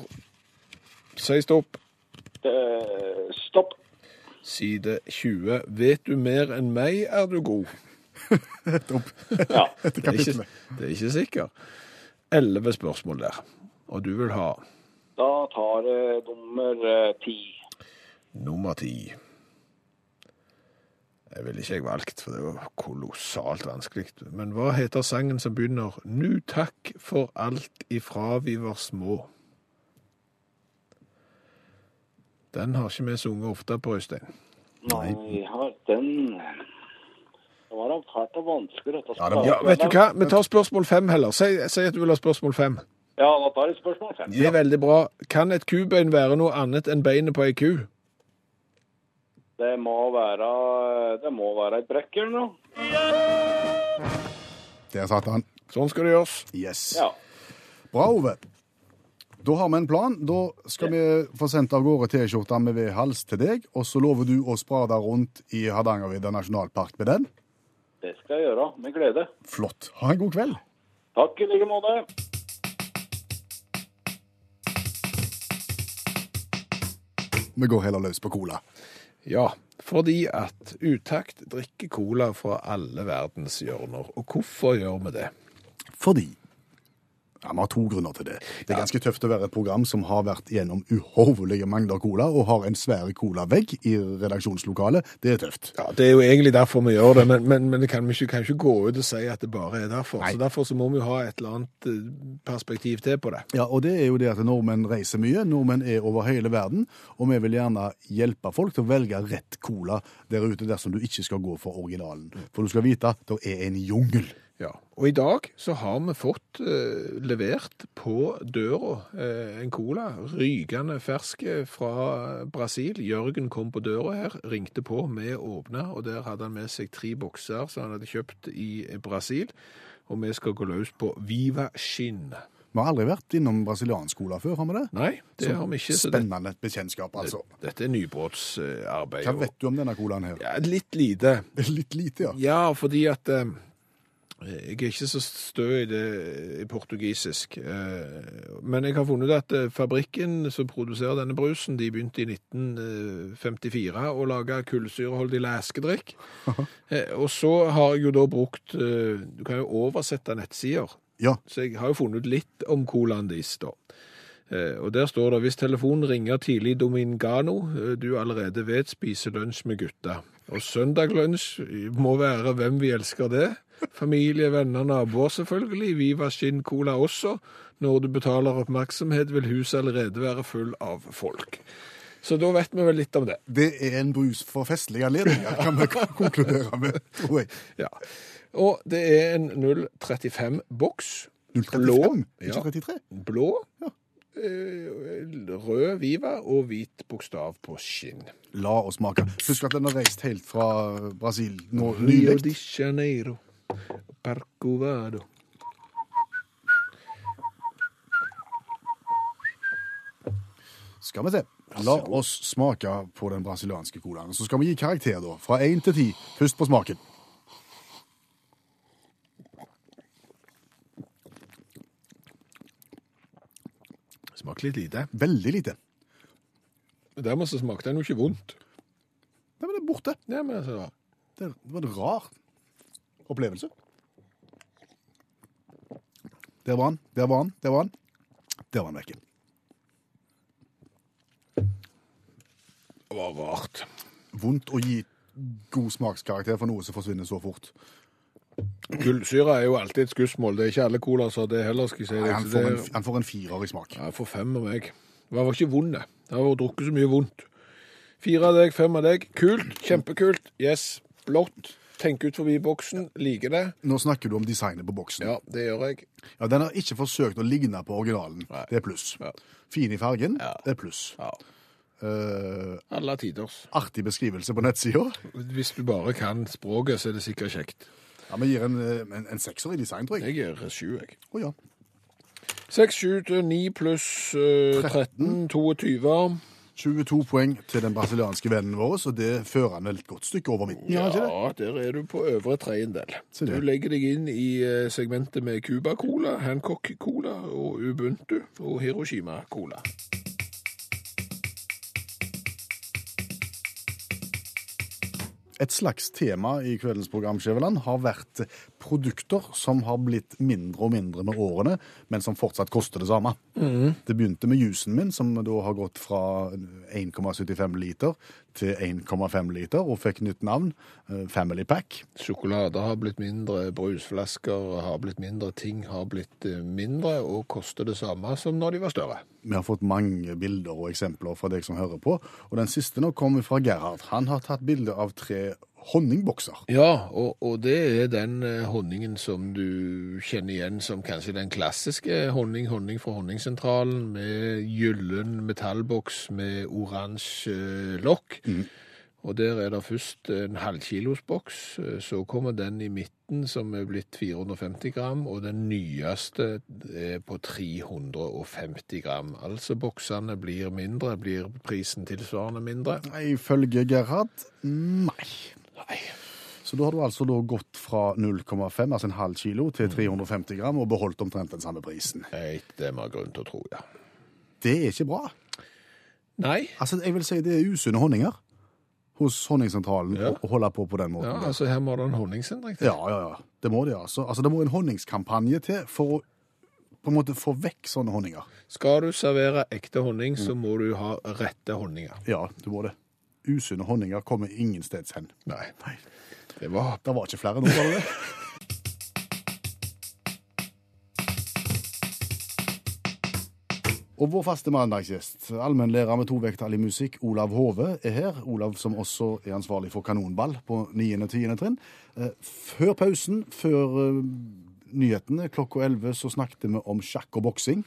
Speaker 3: Si stopp.
Speaker 7: Eh, Stopp.
Speaker 3: Side 20. Vet du mer enn meg, er du god.
Speaker 7: Ja.
Speaker 1: Dette
Speaker 3: Det er ikke,
Speaker 1: kapitlet.
Speaker 3: det er ikke sikker. 11 spørsmål der. Og du vil ha
Speaker 7: Da tar jeg nummer eh, ti.
Speaker 3: Nummer ti. Jeg ville ikke jeg valgt, for det var kolossalt vanskelig. Men hva heter sangen som begynner 'Nu takk for alt ifra vi var små'? Den har ikke vi sunget ofte på, Øystein.
Speaker 7: Nei, har den Det var da fælt og vanskelig, dette
Speaker 1: Ja, det var-
Speaker 3: Ja, Vet du hva, vi tar spørsmål fem heller. Si, si at du vil ha spørsmål fem.
Speaker 7: Ja, da tar jeg spørsmål fem.
Speaker 3: Det er veldig bra. Kan et kubøyn være noe annet enn beinet på ei ku?
Speaker 7: Det må være Det må være et brekk eller noe.
Speaker 1: Der satt han.
Speaker 3: Sånn skal det gjøres.
Speaker 1: Yes.
Speaker 7: Ja.
Speaker 1: Bra, Ove. Da har vi en plan. Da skal vi få sendt av gårde T-skjorta med V-hals til deg, og så lover du å sprade rundt i Hardangervidda nasjonalpark med den.
Speaker 7: Det skal jeg gjøre. Med glede.
Speaker 1: Flott. Ha en god kveld.
Speaker 7: Takk i like måte.
Speaker 1: Vi går heller løs på cola.
Speaker 3: Ja, fordi at utakt drikker cola fra alle verdens hjørner. Og hvorfor gjør vi det?
Speaker 1: Fordi ja, Vi har to grunner til det. Det er ganske tøft å være et program som har vært gjennom uhorvelige mengder cola, og har en svær colavegg i redaksjonslokalet. Det er tøft.
Speaker 3: Ja, Det er jo egentlig derfor vi gjør det, men, men, men det kan vi ikke, kan ikke gå ut og si at det bare er derfor. Så Derfor så må vi jo ha et eller annet eh, perspektiv til på det.
Speaker 1: Ja, og det er jo det at nordmenn reiser mye. Nordmenn er over hele verden, og vi vil gjerne hjelpe folk til å velge rett cola der ute dersom du ikke skal gå for originalen. For du skal vite, det er en jungel.
Speaker 3: Ja, Og i dag så har vi fått eh, levert på døra eh, en cola, rykende fersk eh, fra Brasil. Jørgen kom på døra her, ringte på, vi åpna, og der hadde han med seg tre bokser som han hadde kjøpt i Brasil. Og vi skal gå løs på Viva Shin.
Speaker 1: Vi har aldri vært innom brasiliansk cola før, har vi det?
Speaker 3: Nei, det har vi ikke. Så det,
Speaker 1: Spennende bekjentskap, altså.
Speaker 3: dette er nybrottsarbeid.
Speaker 1: Hva vet du om denne colaen her?
Speaker 3: Ja, litt lite.
Speaker 1: Litt lite, ja.
Speaker 3: Ja, fordi at eh, jeg er ikke så stø i det i portugisisk. eh, Men jeg har funnet ut at eh, fabrikken som produserer denne brusen, de begynte i 1954 å lage kullsyreholdig leskedrikk. Eh, Og så har jeg jo da brukt eh, Du kan jo oversette nettsider.
Speaker 1: Ja,
Speaker 3: Så jeg har jo funnet ut litt om colaen deres, da. Eh, Og der står det hvis telefonen ringer tidlig Domingano, eh, du allerede vet spise lunsj med gutta. Og søndagslunsj må være hvem vi elsker det. Familie, venner, naboer selvfølgelig. Viva Skinn Cola også. Når du betaler oppmerksomhet, vil huset allerede være full av folk. Så da vet vi vel litt om det.
Speaker 1: det er en brus for festlige anledninger, kan vi konkludere med, tror jeg.
Speaker 3: Ja. Og det er en 035-boks.
Speaker 1: 035, ikke 33.
Speaker 3: blå, eh, rød viva og hvit bokstav på skinn.
Speaker 1: La oss smake. Husk at den har reist helt fra Brasil nå
Speaker 3: Rio
Speaker 1: nylig.
Speaker 3: de Janeiro, Parcovado.
Speaker 1: Skal vi se. La oss smake på den brasilianske colaen. Så skal vi gi karakter, da. Fra én til ti. Først på smaken.
Speaker 3: Smaker litt lite.
Speaker 1: Veldig lite.
Speaker 3: Dermed så smakte den jo ikke vondt.
Speaker 1: Nei, men det er borte.
Speaker 3: Ja, men altså,
Speaker 1: Det var en rar opplevelse. Der var han, der var han, der var han. Der var han vekke.
Speaker 3: det var rart.
Speaker 1: Vondt å gi god smakskarakter for noe som forsvinner så fort.
Speaker 3: Kullsyre er jo alltid et skussmål. Det er ikke alle cola som har det heller, skal jeg si.
Speaker 1: Nei,
Speaker 3: deg.
Speaker 1: han,
Speaker 3: Så
Speaker 1: får en,
Speaker 3: det er-
Speaker 1: han får en firer i smak.
Speaker 3: Ja, jeg får fem av meg. Men Han var ikke vond, det. Han har drukket så mye vondt. Fire av deg, fem av deg. Kult, kjempekult. Yes. Blått. Tenk ut forbi boksen. Liker det.
Speaker 1: Nå snakker du om designet på boksen.
Speaker 3: Ja, det gjør jeg.
Speaker 1: Ja, Den har ikke forsøkt å ligne på originalen. Det er pluss.
Speaker 3: Ja.
Speaker 1: Fin i fargen.
Speaker 3: Ja.
Speaker 1: Det er pluss.
Speaker 3: Ja.
Speaker 1: Eh,
Speaker 3: Alle tiders.
Speaker 1: artig beskrivelse på nettsida.
Speaker 3: Hvis du bare kan språket, så er det sikkert kjekt.
Speaker 1: Ja, Vi gir en, eh, en, en sekser i design, tror jeg.
Speaker 3: Jeg gir sju, jeg.
Speaker 1: Å ja.
Speaker 3: Seks, sju til ni pluss eh, 13, 22.
Speaker 1: 22 poeng til den brasilianske vennen vår, så det fører han vel et godt stykke over midten. gjør han ikke det?
Speaker 3: Ja, der er du på øvre tredjedel.
Speaker 1: Se
Speaker 3: Du
Speaker 1: det.
Speaker 3: legger deg inn i eh, segmentet med Cuba-cola, Hancock-cola og Ubuntu og Hiroshima-cola.
Speaker 1: Et slags tema i kveldens program Skjæveland har vært produkter som har blitt mindre og mindre med årene, men som fortsatt koster det samme. Det begynte med jusen min, som da har gått fra 1,75 liter til 1,5 liter, og fikk nytt navn, eh, Family Pack.
Speaker 3: Sjokolade har blitt mindre, brusflasker har blitt mindre, ting har blitt eh, mindre og koster det samme som når de var større.
Speaker 1: Vi har fått mange bilder og eksempler fra deg som hører på, og den siste nå kom fra Gerhard. Han har tatt bilde av tre honningbokser.
Speaker 3: Ja, og, og det er den eh, honningen som du kjenner igjen som kanskje den klassiske honning, honning fra honningsentralen, med gyllen metallboks med oransje eh, lokk. Og der er det først en halvkilosboks, eh, så kommer den i midten som er blitt 450 gram, og den nyeste er på 350 gram. Altså boksene blir mindre, blir prisen tilsvarende mindre.
Speaker 1: Nei, Ifølge Gerhard nei.
Speaker 3: Nei.
Speaker 1: Så da har du altså da gått fra 0,5, altså en halv kilo,
Speaker 3: Mm.
Speaker 1: til 350 gram og beholdt omtrent den samme prisen.
Speaker 3: Nei, det er mer grunn til å tro, ja.
Speaker 1: Det er ikke bra.
Speaker 3: Nei.
Speaker 1: Altså, jeg vil si det er usunne honninger hos honningsentralen
Speaker 3: Ja.
Speaker 1: å- å holde på på den måten.
Speaker 3: Ja,
Speaker 1: der.
Speaker 3: altså her må det en honningsendring til.
Speaker 1: ja, ja, ja. Det må det, altså. altså. Det må en honningskampanje til for å på en måte få vekk sånne honninger.
Speaker 3: Skal du servere ekte honning, så må du ha rette honninger.
Speaker 1: Ja, du må det. Usunne honninger kommer ingensteds hen.
Speaker 3: Nei.
Speaker 1: Nei.
Speaker 3: Det var
Speaker 1: Det var ikke flere nå, var det det? Og vår faste mandagsgjest, allmennlærer med tovekttall i musikk, Olav Hove, er her. Olav som også er ansvarlig for kanonball på 9. og 10. trinn. Eh, Før pausen, før eh, nyhetene, klokka 11, så snakket vi om sjakk og boksing.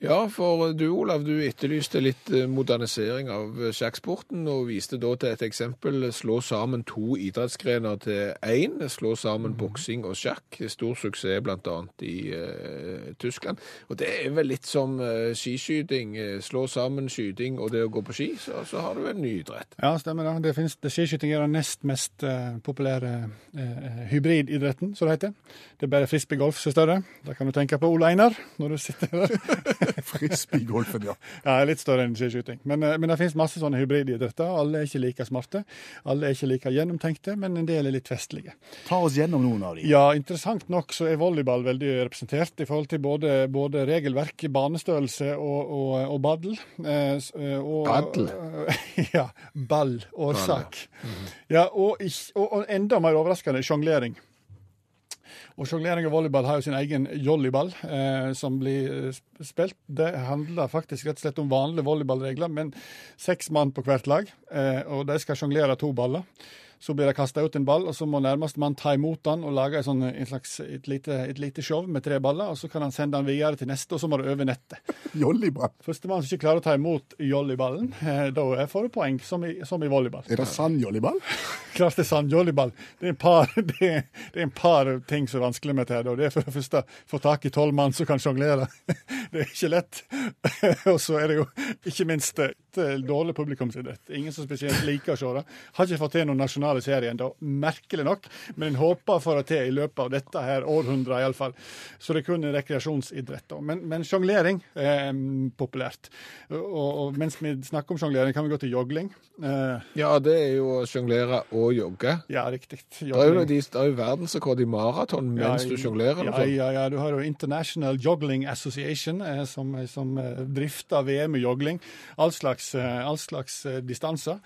Speaker 3: Ja, for eh, du Olav, du etterlyste litt eh, modernisering av eh, sjakksporten, og viste da til et eksempel slå sammen to idrettsgrener til én. Slå sammen boksing og sjakk. Stor suksess bl.a. i eh, Tyskland. Og det er vel litt som eh, skiskyting. eh, Slå sammen skyting og det å gå på ski, så, så har du en ny idrett.
Speaker 5: Ja, stemmer det. det, finnes, det skiskyting er den nest mest eh, populære eh, hybrididretten, som det heter. Det er bare frisbeegolf som er større. Det kan du tenke på Ole Einar når du sitter der.
Speaker 1: Frisbeegolfen, ja.
Speaker 5: Ja, jeg er litt større enn skiskyting. Men, eh, men det finnes masse sånne hybrididretter. Alle er ikke like smarte. Alle er ikke like gjennomtenkte, men en del er litt festlige.
Speaker 1: Ta oss gjennom noen av de.
Speaker 5: Ja, interessant nok så er volleyball veldig representert i forhold til både, både regelverk, banestørrelse og, og, og baddel. Eh, s- eh, og-
Speaker 3: Baddel?
Speaker 5: ja. Ball. Årsak. Ja, og, ikk- og, og enda mer overraskende sjonglering. Og Sjonglering og volleyball har jo sin egen jollyball eh, som blir eh, sp- spilt. Det handler faktisk rett og slett om vanlige volleyballregler, men seks mann på hvert lag, eh, og de skal sjonglere to baller. Så blir det kasta ut en ball, og så må nærmeste mann ta imot den og lage en sånn, en slags, et, lite, et lite show med tre baller, og så kan han sende den videre til neste, og så må du over nettet.
Speaker 1: Jolliball.
Speaker 5: Førstemann som ikke klarer å ta imot jollyballen, eh, da er- får du poeng, som i, som i volleyball.
Speaker 1: Er det sann jolliball?
Speaker 5: Klart det er sant, jollyball. Det er en par, det er, det er en par ting som er vanskelig med dette. her, da. Det er for det første få tak i tolv mann som kan sjonglere. Det er ikke lett. Og så er det jo ikke minst et eh, dårlig publikumsidrett. Ingen som spesielt liker å se det. Har ikke fått til noen nasjonale serier ennå, merkelig nok. Men en håper å få det til i løpet av dette her århundret, iallfall. Så det er kun en rekreasjonsidrett. da. Men, men sjonglering er populært. Og, og mens vi snakker om sjonglering, kan vi gå til jogling. Eh,
Speaker 3: Ja, det er jo å sjonglere og jogge.
Speaker 5: ja, riktig.
Speaker 3: Det er jo,
Speaker 5: Jogling.
Speaker 3: de, det er jo verdensrekord i maraton mens du sjonglerer. og
Speaker 5: Ja,
Speaker 3: sånn.
Speaker 5: ja, ja, du har jo International Joggling Association, eh, som, som eh, drifter VM i jogling. All slags, eh, all slags eh, distanser.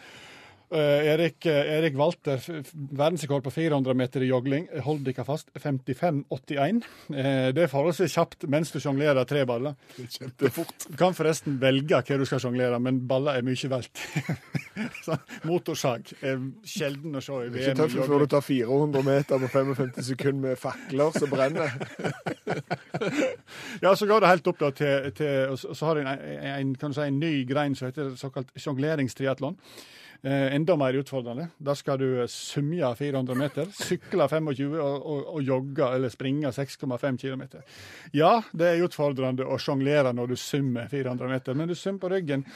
Speaker 5: Eh, Erik, eh, Erik Walter, f- f- verdensrekord på 400 meter i jogling. Hold dere fast, 55,81. Eh, Det er forholdsvis kjapt mens du sjonglerer tre baller.
Speaker 1: Kjempefort.
Speaker 5: Du kan forresten velge hva du skal sjonglere, men baller er mye valgt. Så Motorsag er sjelden å se i
Speaker 3: Ikke
Speaker 5: VM. i
Speaker 3: tøft
Speaker 5: jogling.
Speaker 3: før du tar 400 meter på 55 sekunder med fakler som brenner.
Speaker 5: Ja, så går det helt opp da til, til og så og så har de en, en, kan du si, en ny grein som heter såkalt sjongleringstriatlon. Eh, enda mer utfordrende. Der skal du eh, svømme 400 meter, sykle 25 og, og, og jogge eller springe 6,5 km. Ja, det er utfordrende å sjonglere når du svømmer 400 meter, men du svømmer på ryggen.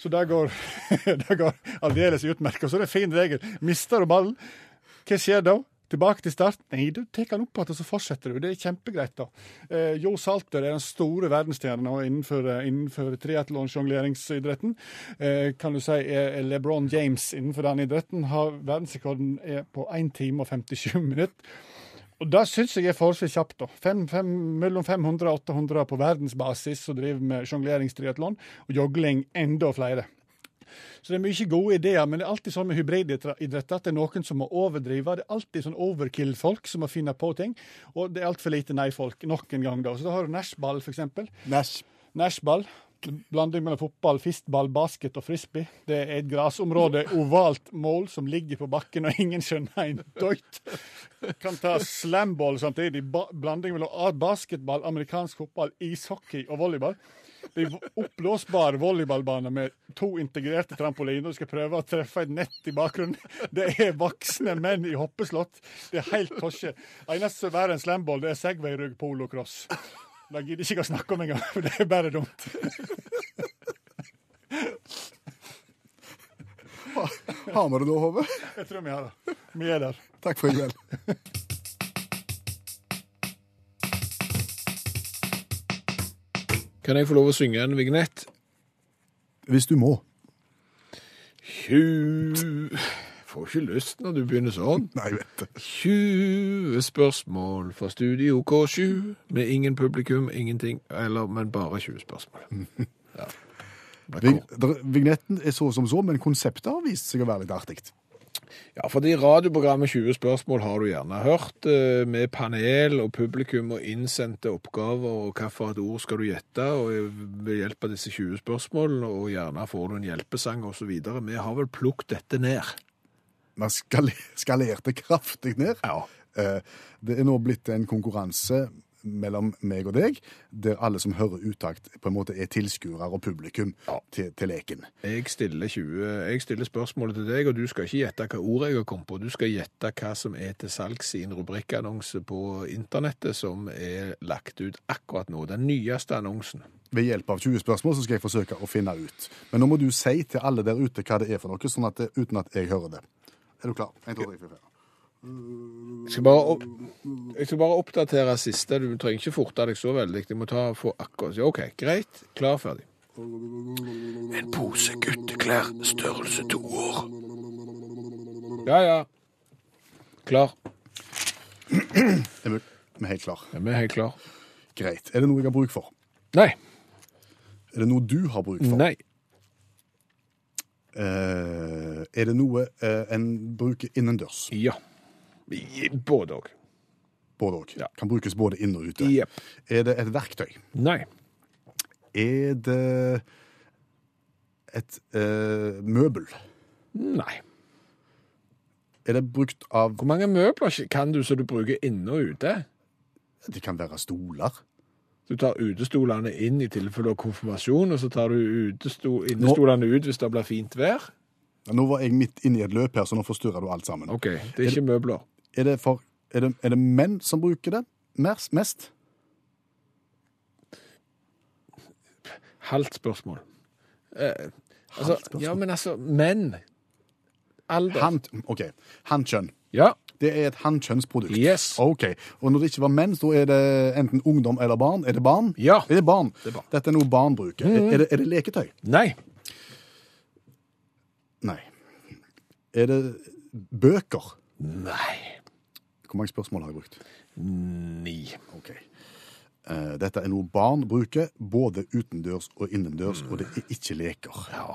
Speaker 5: Så det går, det går aldeles utmerket. Og så er det en fin regel. Mister du ballen, hva skjer da? Tilbake til start? Nei, du tar den opp igjen, og så fortsetter du. Det er kjempegreit, da. Eh, jo Salter er den store verdensstjerna innenfor, eh, innenfor triatlonsjongleringsidretten. Eh, kan du si er er LeBron James innenfor den idretten. Har verdensrekorden er på 1 time og 57 minutter. Og det syns jeg er forholdsvis kjapt. da. Fem, fem, mellom 500 og 800 på verdensbasis som driver med sjongleringstriatlon, og jogling enda flere. Så det er mye gode ideer, men det er alltid sånn med hybrididretter at det er noen som må overdrive. Det er alltid sånn overkill-folk som må finne på ting, og det er altfor lite nei-folk nok en gang. da. Så da har du nachspiel, for eksempel.
Speaker 1: Nash.
Speaker 5: Nashball. Blanding mellom fotball, fistball, basket og frisbee. Det er et grasområde, ovalt mål, som ligger på bakken, og ingen skjønner en døyt. Kan ta slamball samtidig. Ba blanding mellom a- basketball, amerikansk fotball, ishockey og volleyball. Det er oppblåsbar volleyballbane med to integrerte trampoliner. Du skal prøve å treffe et nett i bakgrunnen. Det er voksne menn i hoppeslott. Det er helt tosje. Eneste som er verre enn slamball, det er segwayrugg polocross. Det gidder jeg ikke å snakke om engang, for det er bare dumt.
Speaker 1: Har vi det da, Hove?
Speaker 5: Jeg tror vi har det. Vi er der.
Speaker 1: Takk for i kveld.
Speaker 3: Kan jeg få lov å synge en vignett?
Speaker 1: hvis du må.
Speaker 3: Tju... Får ikke lyst når du begynner sånn.
Speaker 1: Nei, jeg vet det.
Speaker 3: 20 spørsmål fra Studio K7, med ingen publikum, ingenting, eller, men bare 20 spørsmål. Ja. Det er
Speaker 1: Vig-
Speaker 3: kort.
Speaker 1: der- Vignetten er så som så, men konseptet har vist seg å være litt artig.
Speaker 3: Ja, fordi radioprogrammet 20 spørsmål har du gjerne hørt, eh, med panel og publikum og innsendte oppgaver, og hvilket ord skal du gjette, og ved hjelp av disse 20 spørsmålene, og gjerne får du en hjelpesang og så videre. Vi har vel plukket dette ned.
Speaker 1: Vi skal- skalerte kraftig ned.
Speaker 3: Ja.
Speaker 1: Eh, Det er nå blitt en konkurranse mellom meg og deg, der alle som hører utakt, på en måte er tilskuere og publikum til, til leken.
Speaker 3: Jeg stiller, 20, jeg stiller spørsmålet til deg, og du skal ikke gjette hva ord jeg har kommet på. Du skal gjette hva som er til salgs i en rubrikkannonse på internettet som er lagt ut akkurat nå. Den nyeste annonsen.
Speaker 1: Ved hjelp av 20 spørsmål så skal jeg forsøke å finne ut. Men nå må du si til alle der ute hva det er for noe, sånn at det, uten at jeg hører det. Er du klar? En, to, tre, fire, fem.
Speaker 3: Jeg skal bare, opp, jeg skal bare oppdatere siste. Du trenger ikke forte deg så veldig. Jeg må ta få akkurat ja, OK, greit. Klar, ferdig. En pose gutteklær, størrelse to år. Ja, ja. Klar.
Speaker 1: Emil, vi er helt klar.
Speaker 3: Ja, vi er helt klar.
Speaker 1: Greit. Er det noe jeg har bruk for?
Speaker 3: Nei.
Speaker 1: Er det noe du har bruk for?
Speaker 3: Nei.
Speaker 1: Eh, er det noe eh, en bruker innendørs?
Speaker 3: Ja. I- Både òg.
Speaker 1: Både og.
Speaker 3: Ja.
Speaker 1: Kan brukes både inne og ute.
Speaker 3: Jepp.
Speaker 1: Er det et verktøy?
Speaker 3: Nei.
Speaker 1: Er det et eh, møbel?
Speaker 3: Nei.
Speaker 1: Er det brukt av
Speaker 3: Hvor mange møbler kan du som du bruker inne og ute?
Speaker 1: Det kan være stoler.
Speaker 3: Du tar utestolene inn i tilfelle av konfirmasjon, og så tar du utesto- innestolene ut hvis det blir fint vær.
Speaker 1: Nå var jeg midt inne i et løp her, så nå forstyrrer du alt sammen.
Speaker 3: OK, det er ikke møbler.
Speaker 1: Er, det for, er, det, er det menn som bruker det mer, mest?
Speaker 3: Halvt spørsmål. Eh, altså,
Speaker 1: spørsmål?
Speaker 3: Ja, men altså, menn. Alder.
Speaker 1: Han, OK. Hannkjønn.
Speaker 3: Ja,
Speaker 1: Det er et hannkjønnsprodukt.
Speaker 3: Yes.
Speaker 1: Ok, Og når det ikke var menn, så er det enten ungdom eller barn. Er det barn?
Speaker 3: Ja.
Speaker 1: Er det barn?
Speaker 3: er barn.
Speaker 1: Dette er noe barn bruker. Er- Er, det, er det leketøy?
Speaker 3: nei.
Speaker 1: Nei. Er det bøker?
Speaker 3: Nei.
Speaker 1: Hvor mange spørsmål har jeg brukt?
Speaker 3: Ni.
Speaker 1: Ok. Eh, Dette er noe barn bruker, både utendørs og innendørs, og det er ikke leker.
Speaker 3: Ja.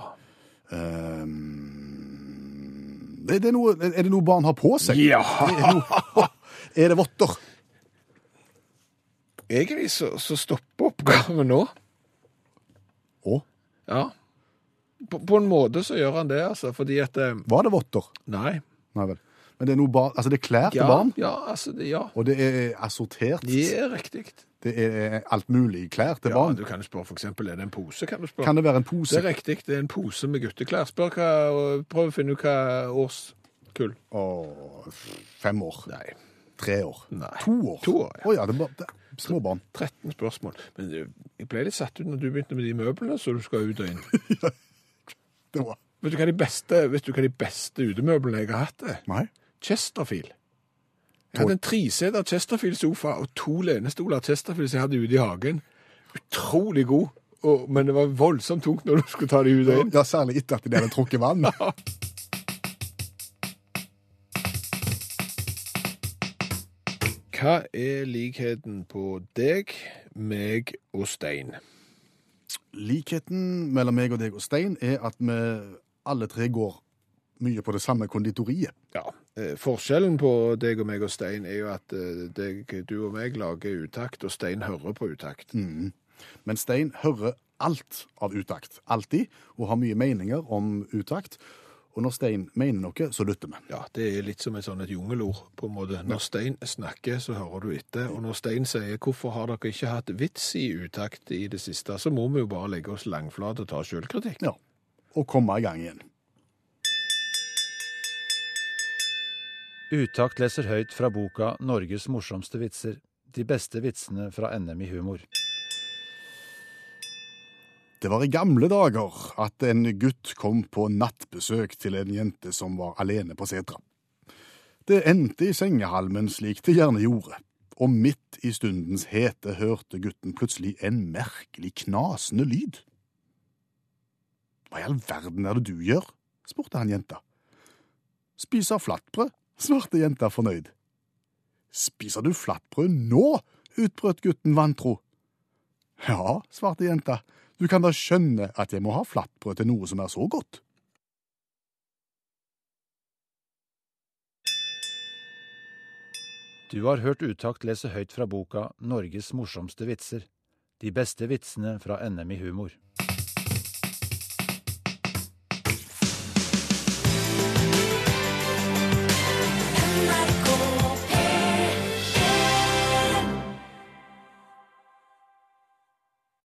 Speaker 1: Ehm, det, det er, noe, er det noe barn har på seg?
Speaker 3: ja.
Speaker 1: Er, det noe, er det votter?
Speaker 3: Egentlig så, så stopper oppgaven nå.
Speaker 1: Å,
Speaker 3: Ja. På, på en måte så gjør han det, altså, fordi at eh,
Speaker 1: var det votter?
Speaker 3: Nei.
Speaker 1: Nei vel. Men det er noe barn, altså det er klær til
Speaker 3: Ja,
Speaker 1: barn?
Speaker 3: ja altså, det, ja.
Speaker 1: Og det er assortert.
Speaker 3: Det er riktig.
Speaker 1: Det er eh, alt mulig klær til
Speaker 3: Ja,
Speaker 1: barn.
Speaker 3: du kan jo spørre for eksempel, er det en pose, kan du spørre.
Speaker 1: Kan det være en
Speaker 3: Det
Speaker 1: pose?
Speaker 3: er riktig, det er en pose med gutteklær. Spør hva, og prøv å finne ut hva årskull.
Speaker 1: Åh, fem år.
Speaker 3: Nei,
Speaker 1: Tre år.
Speaker 3: Nei.
Speaker 1: To år.
Speaker 3: To år, ja.
Speaker 1: Å ja, det er, bare- det er små barn.
Speaker 3: 13 spørsmål. Men det- jeg ble litt satt ut når du begynte med de møblene, så du skal ut og inn.
Speaker 1: Det var.
Speaker 3: Vet du hva de beste, vet du hva de beste utemøblene jeg har hatt er?
Speaker 1: Nei.
Speaker 3: Chesterfield. Jeg hadde en treseter Chesterfield-sofa og to lenestoler Chesterfield som jeg hadde ute i hagen. Utrolig god, og, men det var voldsomt tungt når du skulle ta de ut og inn.
Speaker 1: Ja, særlig etter at de hadde trukket vann.
Speaker 3: Hva er likheten på deg, meg og Stein?
Speaker 1: Likheten mellom meg og deg og Stein er at vi alle tre går mye på det samme konditoriet.
Speaker 3: Ja, eh, Forskjellen på deg og meg og Stein er jo at eh, deg, du og meg lager utakt, og Stein hører på utakt.
Speaker 1: Men Stein hører alt av utakt, alltid, og har mye meninger om utakt. Og når Stein mener noe, så lytter vi.
Speaker 3: Ja, Det er litt som et sånn et jungelord. på en måte. Når Stein snakker, så hører du etter. Og når Stein sier 'hvorfor har dere ikke hatt vits i utakt i det siste', så må vi jo bare legge oss langflate og ta sjølkritikk.
Speaker 1: Ja. Og komme i gang igjen.
Speaker 8: Utakt leser høyt fra boka 'Norges morsomste vitser'. De beste vitsene fra NM i humor.
Speaker 1: Det var i gamle dager at en gutt kom på nattbesøk til en jente som var alene på setra. Det endte i sengehalmen slik det gjerne gjorde, og midt i stundens hete hørte gutten plutselig en merkelig knasende lyd. Hva i all verden er det du gjør? spurte han jenta. Spiser flatbrød, svarte jenta fornøyd. Spiser du flatbrød nå? utbrøt gutten vantro. Ja, svarte jenta, du kan da skjønne at jeg må ha flatbrød til noe som er så godt.
Speaker 3: Du har hørt Utakt lese høyt fra boka Norges morsomste vitser. De beste vitsene fra NM i humor.